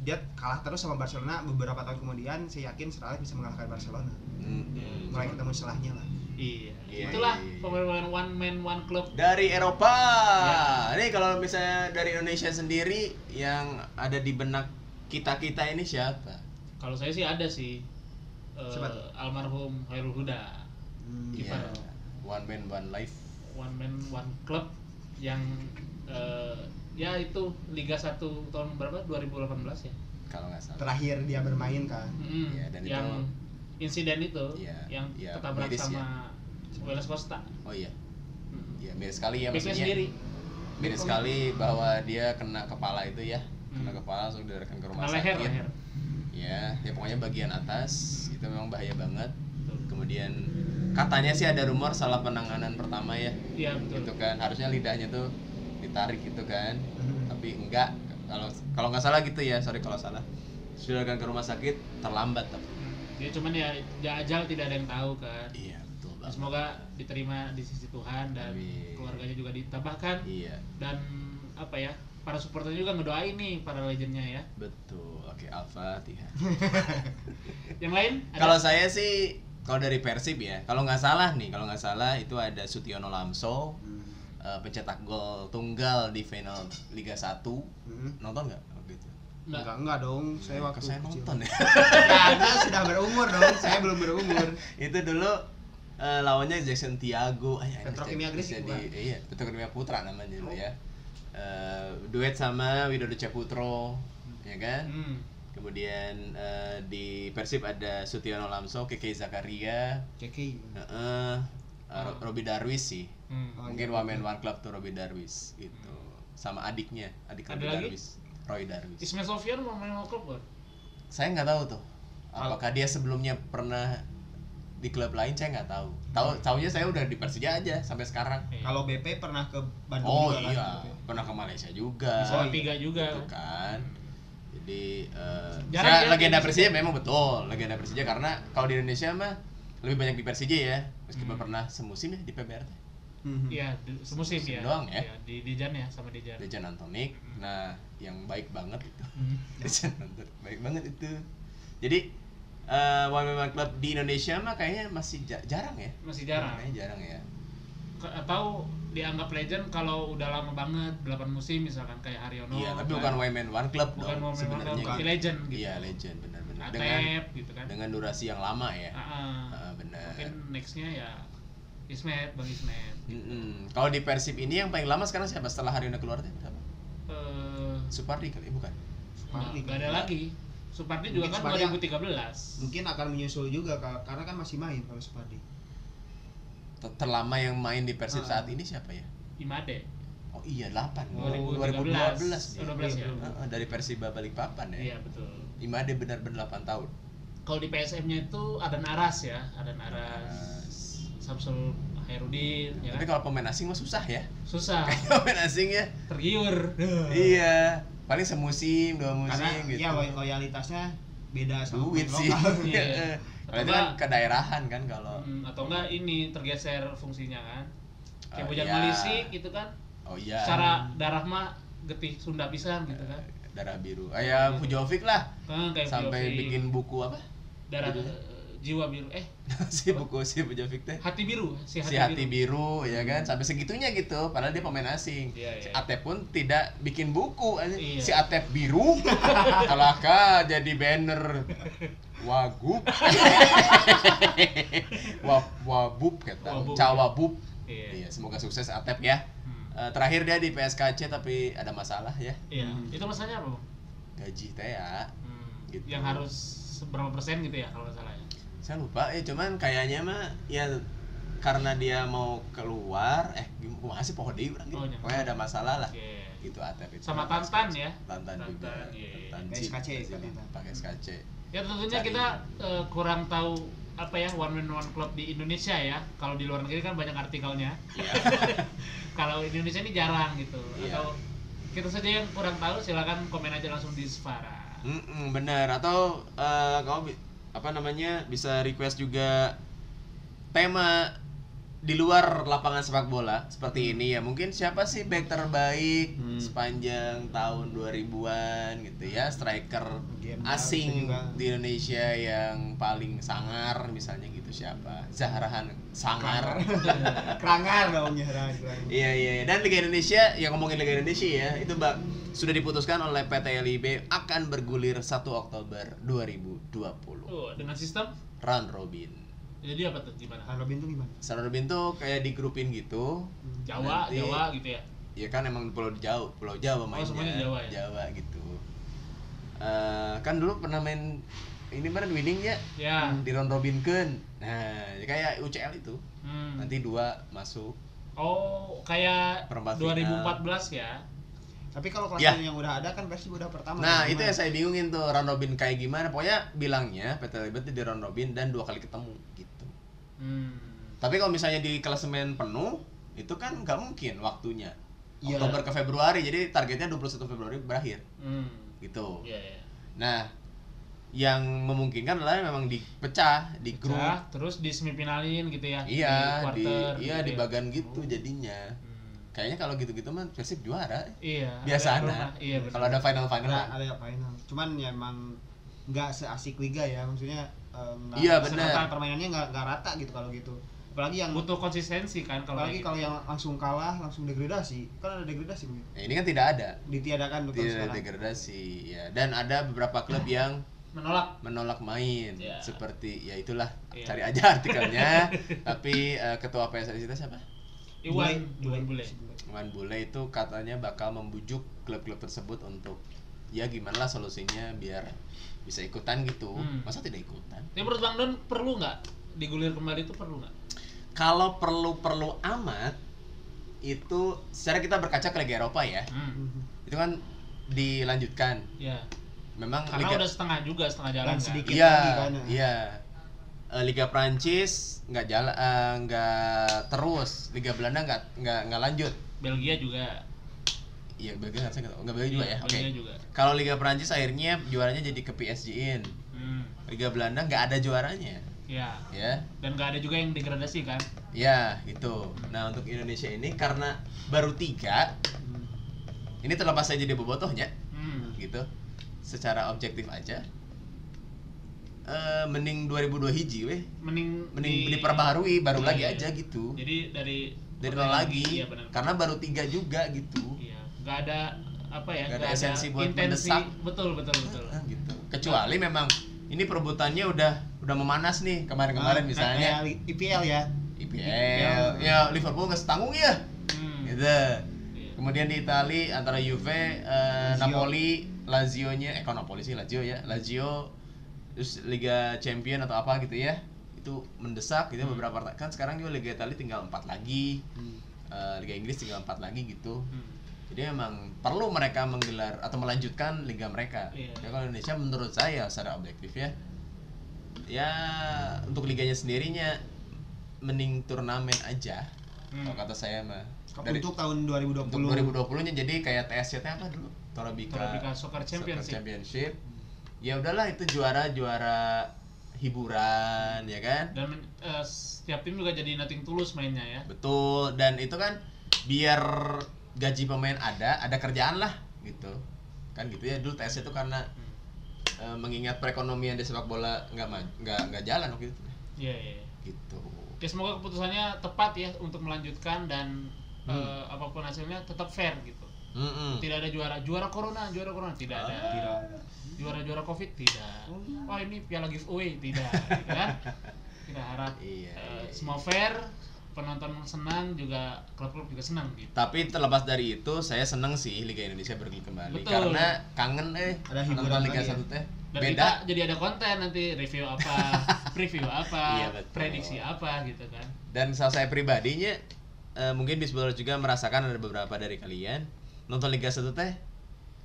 Speaker 7: dia kalah terus sama Barcelona beberapa tahun kemudian, saya yakin Sir Alex bisa mengalahkan Barcelona.
Speaker 6: Hmm.
Speaker 1: Hmm.
Speaker 7: Mulai ketemu selahnya lah.
Speaker 1: Iya.
Speaker 6: Iya,
Speaker 1: Itulah
Speaker 6: iya, iya.
Speaker 1: pemain-pemain one man one club.
Speaker 6: Dari Eropa.
Speaker 1: Iya.
Speaker 6: Nih kalau misalnya dari Indonesia sendiri yang ada di benak kita-kita ini siapa?
Speaker 1: Kalau saya sih ada sih. Eh,
Speaker 7: Siapa tuh?
Speaker 1: almarhum Khairul Huda.
Speaker 7: Hmm,
Speaker 1: Kiper.
Speaker 6: Iya. One man one life.
Speaker 1: One man one club yang eh, ya itu Liga 1 tahun berapa? 2018 ya.
Speaker 6: Kalau nggak salah.
Speaker 7: Terakhir dia bermain kan.
Speaker 1: Mm,
Speaker 6: Iya, dan
Speaker 1: yang insiden itu
Speaker 6: Iya,
Speaker 1: yang
Speaker 6: iya,
Speaker 1: ketabrak
Speaker 6: miris ya.
Speaker 1: sama Wales Costa.
Speaker 6: Oh iya.
Speaker 1: Mm.
Speaker 6: Ya miris sekali ya
Speaker 1: Backnya
Speaker 6: maksudnya.
Speaker 1: sendiri.
Speaker 6: Miris sekali bahwa dia kena kepala itu ya. Kena
Speaker 1: Hmm.
Speaker 6: kepala langsung diarahkan ke rumah
Speaker 1: Kena leher,
Speaker 6: sakit.
Speaker 1: leher.
Speaker 6: Ya, ya pokoknya bagian atas itu memang bahaya banget.
Speaker 1: Betul.
Speaker 6: Kemudian katanya sih ada rumor salah penanganan pertama ya.
Speaker 1: Iya, betul.
Speaker 6: gitu kan harusnya lidahnya tuh ditarik gitu kan
Speaker 1: Hmm.
Speaker 6: tapi enggak kalau kalau nggak salah gitu ya sorry kalau salah sudah ke rumah sakit terlambat tapi
Speaker 1: Mm. Dia cuman ya ya ajal tidak ada yang tahu kan.
Speaker 6: iya betul
Speaker 1: Nah,
Speaker 6: banget
Speaker 1: Semoga diterima di sisi Tuhan dan
Speaker 6: Amin.
Speaker 1: keluarganya juga ditambahkan
Speaker 6: iya
Speaker 1: dan apa ya para supporternya juga ngedoain nih para legendnya ya.
Speaker 6: betul oke Alfa Tiha
Speaker 1: Yang lain? Ada?
Speaker 6: kalau saya sih kalau dari Persib ya kalau nggak salah nih kalau nggak salah itu ada Sutiono Lamso eh, pencetak gol tunggal di final Liga 1
Speaker 7: Hmm.
Speaker 6: nonton nggak waktu itu
Speaker 1: Nggak.
Speaker 7: Enggak, enggak dong. Saya waktu
Speaker 6: saya
Speaker 7: kecil.
Speaker 6: nonton ya
Speaker 7: Ya, Anda sudah berumur dong. Saya belum berumur.
Speaker 6: itu dulu eh, lawannya Jackson Tiago Ay,
Speaker 7: Petro
Speaker 6: ini jadi-
Speaker 7: Kimia Gresik
Speaker 6: jadi iya Petrokimia Putra namanya dulu ya Eh, duet sama Widodo Caputro ya kan
Speaker 1: Hmm.
Speaker 6: kemudian eh, di Persib ada Sutiono Lamso Keke Zakaria
Speaker 7: Ceki.
Speaker 6: eh, eh, eh, Ro-
Speaker 1: Oh.
Speaker 6: Robi Darwis sih
Speaker 1: Hmm.
Speaker 7: Oh,
Speaker 6: mungkin
Speaker 7: iya.
Speaker 6: one man one club tuh Robi Darwis gitu sama adiknya adik
Speaker 1: Ada
Speaker 6: Robi
Speaker 1: lagi?
Speaker 6: Darwis Roy Darwis
Speaker 1: Ismail Sofyan mau main World Cup buat?
Speaker 6: saya nggak tahu tuh apakah dia sebelumnya pernah di klub lain saya nggak tahu tahu tahunya saya udah di Persija aja sampai sekarang
Speaker 7: Kalau BP pernah ke Bandung
Speaker 6: oh
Speaker 7: juga kan?
Speaker 6: iya pernah ke Malaysia juga
Speaker 1: Bisa
Speaker 6: Gitu
Speaker 1: tiga juga.
Speaker 6: kan jadi eh,
Speaker 1: Jarang
Speaker 6: saya
Speaker 1: ya
Speaker 6: legenda
Speaker 1: di
Speaker 6: Persija memang betul legenda Persija karena kalau di Indonesia mah lebih banyak di Persija ya meskipun
Speaker 1: Hmm.
Speaker 6: pernah semusim ya di PBRT
Speaker 7: Mhm.
Speaker 1: Iya, di- semusim ya.
Speaker 6: Semusim doang ya.
Speaker 1: Iya, di Dijan ya sama Dijan.
Speaker 6: Dejan Antonik nah yang baik banget itu
Speaker 1: Hmm.
Speaker 6: Dejan Antonik baik banget itu jadi eh one man club di Indonesia mah kayaknya masih ja- jarang ya
Speaker 1: Masih jarang.
Speaker 6: Kayaknya jarang ya
Speaker 1: Ke- Atau dianggap legend kalau udah lama banget, 8 musim misalkan kayak Haryono.
Speaker 6: iya tapi
Speaker 1: kan.
Speaker 6: bukan one man one club
Speaker 1: bukan
Speaker 6: dong
Speaker 1: one man, one
Speaker 6: sebenarnya
Speaker 1: club,
Speaker 6: gitu.
Speaker 1: legend gitu.
Speaker 6: iya legend benar-benar dengan
Speaker 1: Atep gitu kan.
Speaker 6: dengan durasi yang lama ya
Speaker 1: Ah, ah.
Speaker 6: Ah, benar
Speaker 1: Mungkin nextnya ya Ismet, Bang Ismet.
Speaker 6: Mm-mm. kalau di Persib ini yang paling lama sekarang siapa setelah Haryono keluar tuh berapa
Speaker 1: Eh,
Speaker 6: Supardi kali ya? bukan
Speaker 7: Supardi
Speaker 1: nggak ada lagi. Supardi juga
Speaker 7: Mungkin
Speaker 1: kan
Speaker 7: Supardi-
Speaker 1: 2013.
Speaker 7: Iya. Mungkin akan menyusul juga Kak, karena kan masih main kalau Supardi.
Speaker 6: Ter- terlama yang main di Persib
Speaker 7: Ah.
Speaker 6: saat ini siapa ya
Speaker 1: Imade.
Speaker 6: oh iya 8
Speaker 1: 2013.
Speaker 6: 2012 dia.
Speaker 7: Iya.
Speaker 1: 2012 ya.
Speaker 6: Ah, ah, dari Persiba Balikpapan ya
Speaker 1: Iya, betul.
Speaker 6: Imade benar-benar 8 tahun.
Speaker 1: Kalau di PSM-nya itu ada Naras ya, ada Naras,
Speaker 6: Nah,
Speaker 1: Samsul Hairudin ya kan?
Speaker 6: Tapi
Speaker 1: Ah.
Speaker 6: kalau pemain asing mah susah ya.
Speaker 1: Susah,
Speaker 6: pemain asing ya.
Speaker 1: tergiur.
Speaker 6: Iya. Paling semusim, dua musim
Speaker 7: Karena
Speaker 6: gitu.
Speaker 7: ya loy- loyalitasnya beda sama
Speaker 6: duit
Speaker 7: pemain
Speaker 6: sih.
Speaker 7: lokal.
Speaker 1: Iya.
Speaker 6: Kalau itu kan kedaerahan kan kalau.
Speaker 1: Hmm, atau enggak ini tergeser fungsinya kan. Kayak
Speaker 6: Oh,
Speaker 1: Bojan
Speaker 6: iya.
Speaker 1: Malisik gitu kan.
Speaker 6: Oh iya.
Speaker 1: Secara darah mah getih Sunda pisan gitu kan.
Speaker 6: darah biru. Ah, ya Pujovic lah
Speaker 1: Kan kayak
Speaker 6: sampai
Speaker 1: Pujovic.
Speaker 6: bikin buku apa?
Speaker 1: darah
Speaker 6: Gitu.
Speaker 1: eh, jiwa biru eh
Speaker 6: si buku si Pujovic teh.
Speaker 1: hati biru si hati,
Speaker 6: si hati biru. ya kan sampai segitunya gitu padahal dia pemain asing
Speaker 1: Hmm. Iya,
Speaker 6: si
Speaker 1: iya.
Speaker 6: Atep pun tidak bikin buku
Speaker 1: Iya.
Speaker 6: anjing. si Atep biru kalaka jadi banner wagub Wab, wabub
Speaker 1: Wabub,
Speaker 6: kata
Speaker 1: ya.
Speaker 6: cawabub
Speaker 1: Iya.
Speaker 6: iya semoga sukses Atep ya
Speaker 1: Hmm.
Speaker 6: Eh, terakhir dia di PSKC tapi ada masalah ya
Speaker 1: iya itu masalahnya apa Bang?
Speaker 6: gaji teh ya
Speaker 1: Hmm,
Speaker 6: Gitu.
Speaker 1: yang harus berapa persen gitu ya kalau nggak salah ya
Speaker 6: saya lupa eh cuman kayaknya mah ya karena dia mau keluar eh gimana sih pohon deui urang gitu.
Speaker 1: Oh, Iya. nyampe.
Speaker 6: pokoknya ada masalah lah
Speaker 1: Oke.
Speaker 6: itu Gitu, Atep itu
Speaker 1: sama Tantan ya
Speaker 6: Tantan juga
Speaker 1: Tantan, iya.
Speaker 6: Tantan
Speaker 7: Pakai
Speaker 6: Cik,
Speaker 7: SKC,
Speaker 6: Cik,
Speaker 7: Tantan.
Speaker 6: pakai SKC
Speaker 1: ya tentunya
Speaker 6: Cari.
Speaker 1: kita eh, kurang tahu apa ya one man one club di Indonesia ya kalau di luar negeri kan banyak artikelnya
Speaker 6: Iya.
Speaker 1: kalau di Indonesia ini jarang gitu
Speaker 6: Iya.
Speaker 1: atau kita saja yang kurang tahu silakan komen aja langsung di Svara
Speaker 6: Mm-mm, bener atau eh, kamu bi- apa namanya bisa request juga tema di luar lapangan sepak bola seperti ini ya mungkin siapa sih back terbaik sepanjang tahun 2000-an gitu ya striker
Speaker 7: Game
Speaker 6: asing
Speaker 7: bisa juga.
Speaker 6: di Indonesia yang paling sangar misalnya gitu siapa Zahrahan sangar
Speaker 7: Kerangar dong ya, nyerang.
Speaker 6: Iya iya iya. dan Liga Indonesia yang ngomongin Liga Indonesia ya itu mbak sudah diputuskan oleh PT LIB akan bergulir 1 Oktober 2020
Speaker 1: tuh dengan sistem
Speaker 6: round robin.
Speaker 1: jadi apa tuh gimana
Speaker 7: Nah, Robin tuh gimana?
Speaker 6: Round robin tuh kayak di grupin gitu.
Speaker 1: Jawa
Speaker 6: Nanti-
Speaker 1: Jawa gitu ya
Speaker 6: Ya kan emang pulau jauh, pulau Jawa mainnya.
Speaker 1: semuanya Jawa ya?
Speaker 6: gitu. Eh, kan dulu pernah main ini mana winning ya
Speaker 1: ya
Speaker 6: di round robin kan. Nah, ya kayak UCL itu.
Speaker 1: hmm.
Speaker 6: Nanti dua masuk.
Speaker 1: oh kayak
Speaker 6: Perempat
Speaker 1: 2014 ya
Speaker 7: Tapi kalau kelas
Speaker 6: Ya.
Speaker 7: yang udah ada kan pasti udah pertama.
Speaker 6: Nah,
Speaker 7: kan,
Speaker 6: itu
Speaker 7: gimana?
Speaker 6: yang saya bingungin tuh round robin kayak gimana. Pokoknya bilangnya PT Liberty di round robin dan dua kali ketemu gitu.
Speaker 1: hmm.
Speaker 6: Tapi kalau misalnya di klasemen penuh, itu kan nggak mungkin waktunya.
Speaker 7: Iya.
Speaker 6: Oktober ke Februari, jadi targetnya 21 Februari berakhir
Speaker 1: Hmm.
Speaker 6: gitu.
Speaker 1: Iya, iya.
Speaker 6: Nah, yang memungkinkan adalah memang dipecah di grup.
Speaker 1: Nah, terus di semifinalin gitu ya
Speaker 6: Iya,
Speaker 1: di
Speaker 6: di,
Speaker 1: quarter
Speaker 6: iya
Speaker 1: gitu
Speaker 6: di
Speaker 1: ya.
Speaker 6: bagan gitu jadinya.
Speaker 1: Hmm.
Speaker 6: Kayaknya kalau gitu-gitu mah Persib juara.
Speaker 1: iya
Speaker 6: Biasa
Speaker 1: ada
Speaker 6: ada.
Speaker 1: rumah. iya Nah, benar.
Speaker 6: Kalau ada final-final.
Speaker 7: ada ada final. Cuman ya emang nggak seasik liga ya maksudnya. em, nggak-
Speaker 6: Iya,
Speaker 7: peserta
Speaker 6: benar.
Speaker 7: Permainannya nggak nggak rata gitu kalau gitu. Apalagi yang
Speaker 1: butuh konsistensi kan kalau
Speaker 6: gitu.
Speaker 7: apalagi
Speaker 1: kayak
Speaker 7: kalau yang langsung kalah langsung degradasi kan ada degradasi Bu.
Speaker 6: Nah, ini kan tidak ada.
Speaker 7: ditiadakan betul
Speaker 6: Tidak ada
Speaker 7: sekarang.
Speaker 6: Iya, degradasi ya. Dan ada beberapa klub yang
Speaker 1: gitu. menolak
Speaker 6: menolak main
Speaker 1: Ya.
Speaker 6: seperti ya itulah
Speaker 1: Iya.
Speaker 6: cari aja artikelnya tapi eh, ketua PSSI itu siapa
Speaker 1: Iwan
Speaker 7: Bule,
Speaker 1: Iwan Bule
Speaker 6: Iwan Bule itu katanya bakal membujuk klub-klub tersebut untuk ya gimana lah solusinya biar bisa ikutan gitu
Speaker 1: Hmm.
Speaker 6: masa tidak ikutan
Speaker 1: tapi menurut Bang Don perlu nggak digulir kembali itu perlu nggak
Speaker 6: kalau perlu-perlu amat itu secara kita berkaca ke Liga Eropa ya
Speaker 1: hmm.
Speaker 7: Mm-hmm.
Speaker 6: itu kan dilanjutkan
Speaker 1: ya
Speaker 6: memang
Speaker 1: karena
Speaker 6: Liga
Speaker 1: udah setengah juga setengah jalan
Speaker 7: Dan
Speaker 1: kan?
Speaker 7: sedikit
Speaker 6: iya
Speaker 7: lagi kan.
Speaker 6: iya Eh, Liga Prancis nggak jalan eh, nggak terus Liga Belanda nggak nggak nggak lanjut
Speaker 1: Belgia juga
Speaker 6: Iya, Belgia nggak saya nggak tahu. nggak Belgia juga
Speaker 1: Iya,
Speaker 6: ya. Oke.
Speaker 1: Belgia juga
Speaker 6: Kalau Liga Prancis akhirnya juaranya jadi ke PSG-in.
Speaker 1: hmm.
Speaker 6: Liga Belanda nggak ada juaranya,
Speaker 1: ya
Speaker 6: ya.
Speaker 1: dan nggak ada juga yang degradasi kan
Speaker 6: Ya, gitu. Nah, untuk Indonesia ini karena baru tiga, ini terlepas saya jadi bobotohnya,
Speaker 1: hmm.
Speaker 7: Mm-hmm.
Speaker 6: gitu. Secara objektif aja. Eh, mending 2002 hiji weh.
Speaker 1: mending
Speaker 6: Mending
Speaker 1: di-
Speaker 6: diperbaharui baru
Speaker 1: Iya,
Speaker 6: lagi
Speaker 1: iya.
Speaker 6: aja gitu.
Speaker 1: jadi dari
Speaker 6: Dari nol lagi.
Speaker 1: iya benar
Speaker 6: Karena baru tiga juga gitu.
Speaker 1: iya nggak ada apa ya
Speaker 6: Nggak ada esensi buat
Speaker 1: intensi
Speaker 6: mendesak.
Speaker 1: betul betul betul
Speaker 6: Nah, gitu. Kecuali memang ini perebutannya udah udah memanas nih
Speaker 1: Ah,
Speaker 6: kemarin-kemarin
Speaker 7: Nah,
Speaker 6: misalnya.
Speaker 7: kayak IPL ya.
Speaker 6: IPL ya Liverpool nggak setanggung ya
Speaker 1: hmm.
Speaker 6: gitu
Speaker 1: Iya.
Speaker 6: kemudian di Itali antara Juve eh,
Speaker 7: Lazio.
Speaker 6: Napoli Lazio nya eh kok Napoli sih Lazio ya Lazio terus Liga Champion atau apa gitu ya itu mendesak gitu
Speaker 1: Hmm.
Speaker 6: beberapa part- kan sekarang juga Liga Itali tinggal empat lagi Eh, Liga Inggris tinggal empat lagi gitu
Speaker 1: Hmm.
Speaker 6: jadi memang perlu mereka menggelar atau melanjutkan liga mereka.
Speaker 1: Iya.
Speaker 6: Ya, kalau Indonesia menurut saya secara objektif ya, ya untuk liganya sendirinya mending turnamen aja.
Speaker 1: Hmm.
Speaker 6: Kalau kata saya mah dari
Speaker 7: Untuk tahun 2020.
Speaker 6: untuk 2020-nya jadi kayak TSC -nya apa dulu? Torabika,
Speaker 1: Torabika Soccer Championship. Hmm.
Speaker 6: Championship. Ya udahlah itu juara-juara hiburan ya kan.
Speaker 1: dan men- eh, setiap tim juga jadi nothing tulus mainnya ya
Speaker 6: Betul, dan itu kan biar gaji pemain ada, ada kerjaan lah gitu. Kan gitu ya dulu TS itu karena eh, mengingat perekonomian di sepak bola nggak ma- nggak nggak jalan waktu itu.
Speaker 1: iya iya iya.
Speaker 6: Gitu.
Speaker 1: Oke, semoga keputusannya tepat ya untuk melanjutkan dan
Speaker 6: Hmm.
Speaker 1: eh, apapun hasilnya tetap fair gitu
Speaker 6: Mm-mm.
Speaker 1: tidak ada juara juara corona juara corona tidak ada
Speaker 6: Ah.
Speaker 1: juara juara covid tidak
Speaker 6: Oh, iya.
Speaker 1: wah ini piala giveaway tidak gitu kan kita harap eh,
Speaker 6: Iya, iya, iya.
Speaker 1: semua fair penonton senang juga klub-klub juga senang gitu
Speaker 6: Tapi terlepas dari itu, saya seneng sih Liga Indonesia bergulir kembali
Speaker 1: Betul.
Speaker 6: karena kangen eh
Speaker 7: Ada hiburan
Speaker 6: nonton Liga
Speaker 7: lagi ya.
Speaker 6: satu teh
Speaker 1: dan
Speaker 6: beda.
Speaker 1: kita jadi ada konten nanti review apa preview
Speaker 6: Iya,
Speaker 1: apa
Speaker 6: betul.
Speaker 1: prediksi apa gitu kan
Speaker 6: Dan kalau saya pribadinya eh, mungkin Bisbol juga merasakan ada beberapa dari kalian nonton Liga satu teh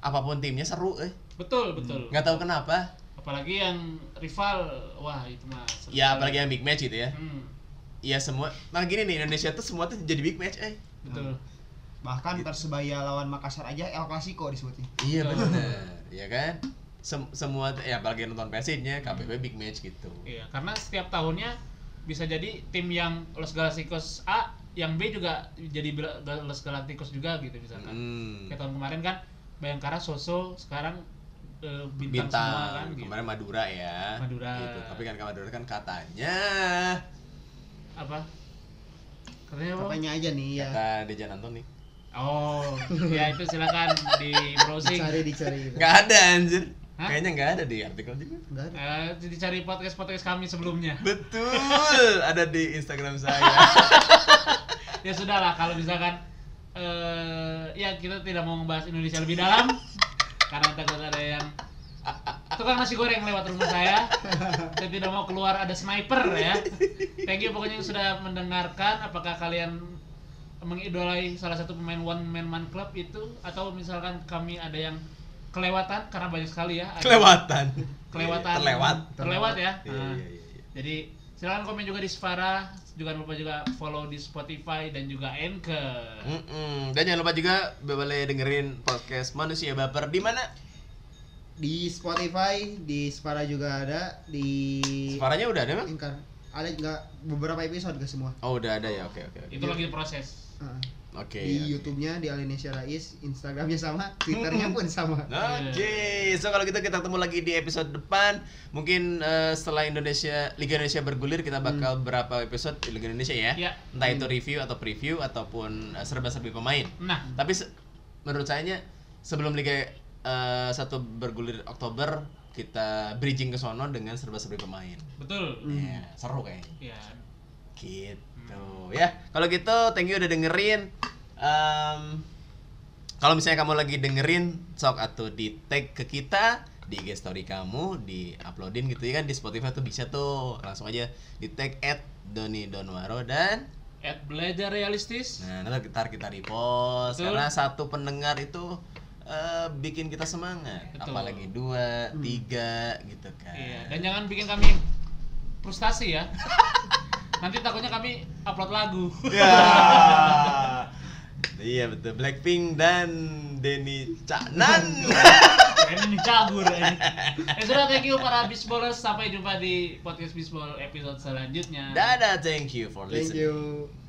Speaker 6: apapun timnya seru eh
Speaker 1: betul betul
Speaker 6: nggak tahu kenapa
Speaker 1: apalagi yang rival wah itu mah seru
Speaker 6: Ya
Speaker 1: sekali.
Speaker 6: apalagi yang big match itu ya.
Speaker 1: hmm,
Speaker 6: Ya semua. Nah gini nih Indonesia tuh semua tuh jadi big match eh.
Speaker 1: betul
Speaker 8: Bahkan Persebaya lawan Makassar aja El Clasico disebutnya.
Speaker 6: Iya benar. Iya kan? Sem- semua ya apalagi nonton Persibnya KPP big match gitu.
Speaker 1: iya karena setiap tahunnya bisa jadi tim yang Los Galacticos A yang B juga jadi Bel- Los Galacticos juga gitu misalkan
Speaker 6: Hmm.
Speaker 1: kayak tahun kemarin kan Bayangkara Soso sekarang eh, bintang,
Speaker 6: Bintang,
Speaker 1: semua kan gitu.
Speaker 6: kemarin Madura ya.
Speaker 1: Madura.
Speaker 6: Gitu. Tapi kan kalau Madura kan katanya
Speaker 1: apa katanya apa
Speaker 8: Katanya aja nih ya.
Speaker 6: kata Dejan Antoni.
Speaker 1: oh ya itu silakan di browsing
Speaker 8: Dicari dicari gitu.
Speaker 6: Nggak ada anjir.
Speaker 1: Hah?
Speaker 6: Kayaknya nggak ada di artikel juga.
Speaker 8: Enggak ada.
Speaker 1: Eh, dicari podcast podcast kami sebelumnya
Speaker 6: Betul, ada di Instagram saya.
Speaker 1: ya sudah lah kalau misalkan eh ya kita tidak mau membahas Indonesia lebih dalam karena takut ada yang tukang nasi goreng lewat rumah saya saya tidak mau keluar ada sniper ya thank you pokoknya yang sudah mendengarkan apakah kalian mengidolai salah satu pemain one man man club itu atau misalkan kami ada yang kelewatan karena banyak sekali ya ada
Speaker 6: Kelewatan.
Speaker 1: kelewatan
Speaker 6: Terlewat.
Speaker 1: terlewat ya
Speaker 6: Iya,
Speaker 1: Nah.
Speaker 6: iya, iya, iya.
Speaker 1: Jadi silakan komen juga di Spara, jangan lupa juga follow di Spotify dan juga Anchor.
Speaker 6: Mm-mm. Dan jangan lupa juga boleh dengerin podcast Manusia Baper di mana?
Speaker 8: Di Spotify, di Spara juga ada, di
Speaker 6: Suaranya udah ada, Bang?
Speaker 8: Anchor. Ada juga beberapa episode ke semua.
Speaker 6: Oh, udah ada ya. Oke, oke, oke.
Speaker 1: Itu lagi proses.
Speaker 8: Heeh.
Speaker 6: Oke. iya,
Speaker 8: di
Speaker 7: Iya.
Speaker 6: oke.
Speaker 8: YouTube-nya di Alinesia Rais, Instagramnya sama, Twitternya pun sama.
Speaker 6: Oke, so kalau gitu kita ketemu lagi di episode depan. Mungkin eh, setelah Indonesia Liga Indonesia bergulir kita bakal berapa episode di Liga Indonesia ya?
Speaker 1: Iya.
Speaker 6: Entah itu review atau preview ataupun eh, serba-serbi pemain.
Speaker 1: Nah,
Speaker 6: Tapi se- menurut saya sebelum Liga eh, satu bergulir Oktober kita bridging ke sono dengan serba-serbi pemain.
Speaker 1: betul.
Speaker 8: Hmm.
Speaker 7: Hmm.
Speaker 6: Ya, seru
Speaker 1: Ya.
Speaker 6: kayaknya. Gitu. Ya, kalau gitu thank you udah dengerin. Em, kalau misalnya kamu lagi dengerin, sok atau di tag ke kita di IG story kamu, di uploadin gitu ya kan di Spotify tuh bisa tuh langsung aja di tag at Doni Donwaro dan
Speaker 1: At belajar realistis.
Speaker 6: Nah, nanti kita kita repost
Speaker 1: Betul.
Speaker 6: karena satu pendengar itu eh, bikin kita semangat.
Speaker 1: Betul. Hmm.
Speaker 6: Apalagi dua, tiga gitu kan.
Speaker 1: Iya, dan jangan bikin kami frustasi ya. Nanti takutnya kami upload lagu.
Speaker 6: Ya. iya betul. Blackpink dan Denny Canan.
Speaker 1: Kayaknya nih cabur ya. Ya sudah, thank you para Bisballers. Sampai jumpa di podcast Bisball episode selanjutnya.
Speaker 6: Dadah, thank you for
Speaker 8: Thank
Speaker 6: listening.
Speaker 8: you.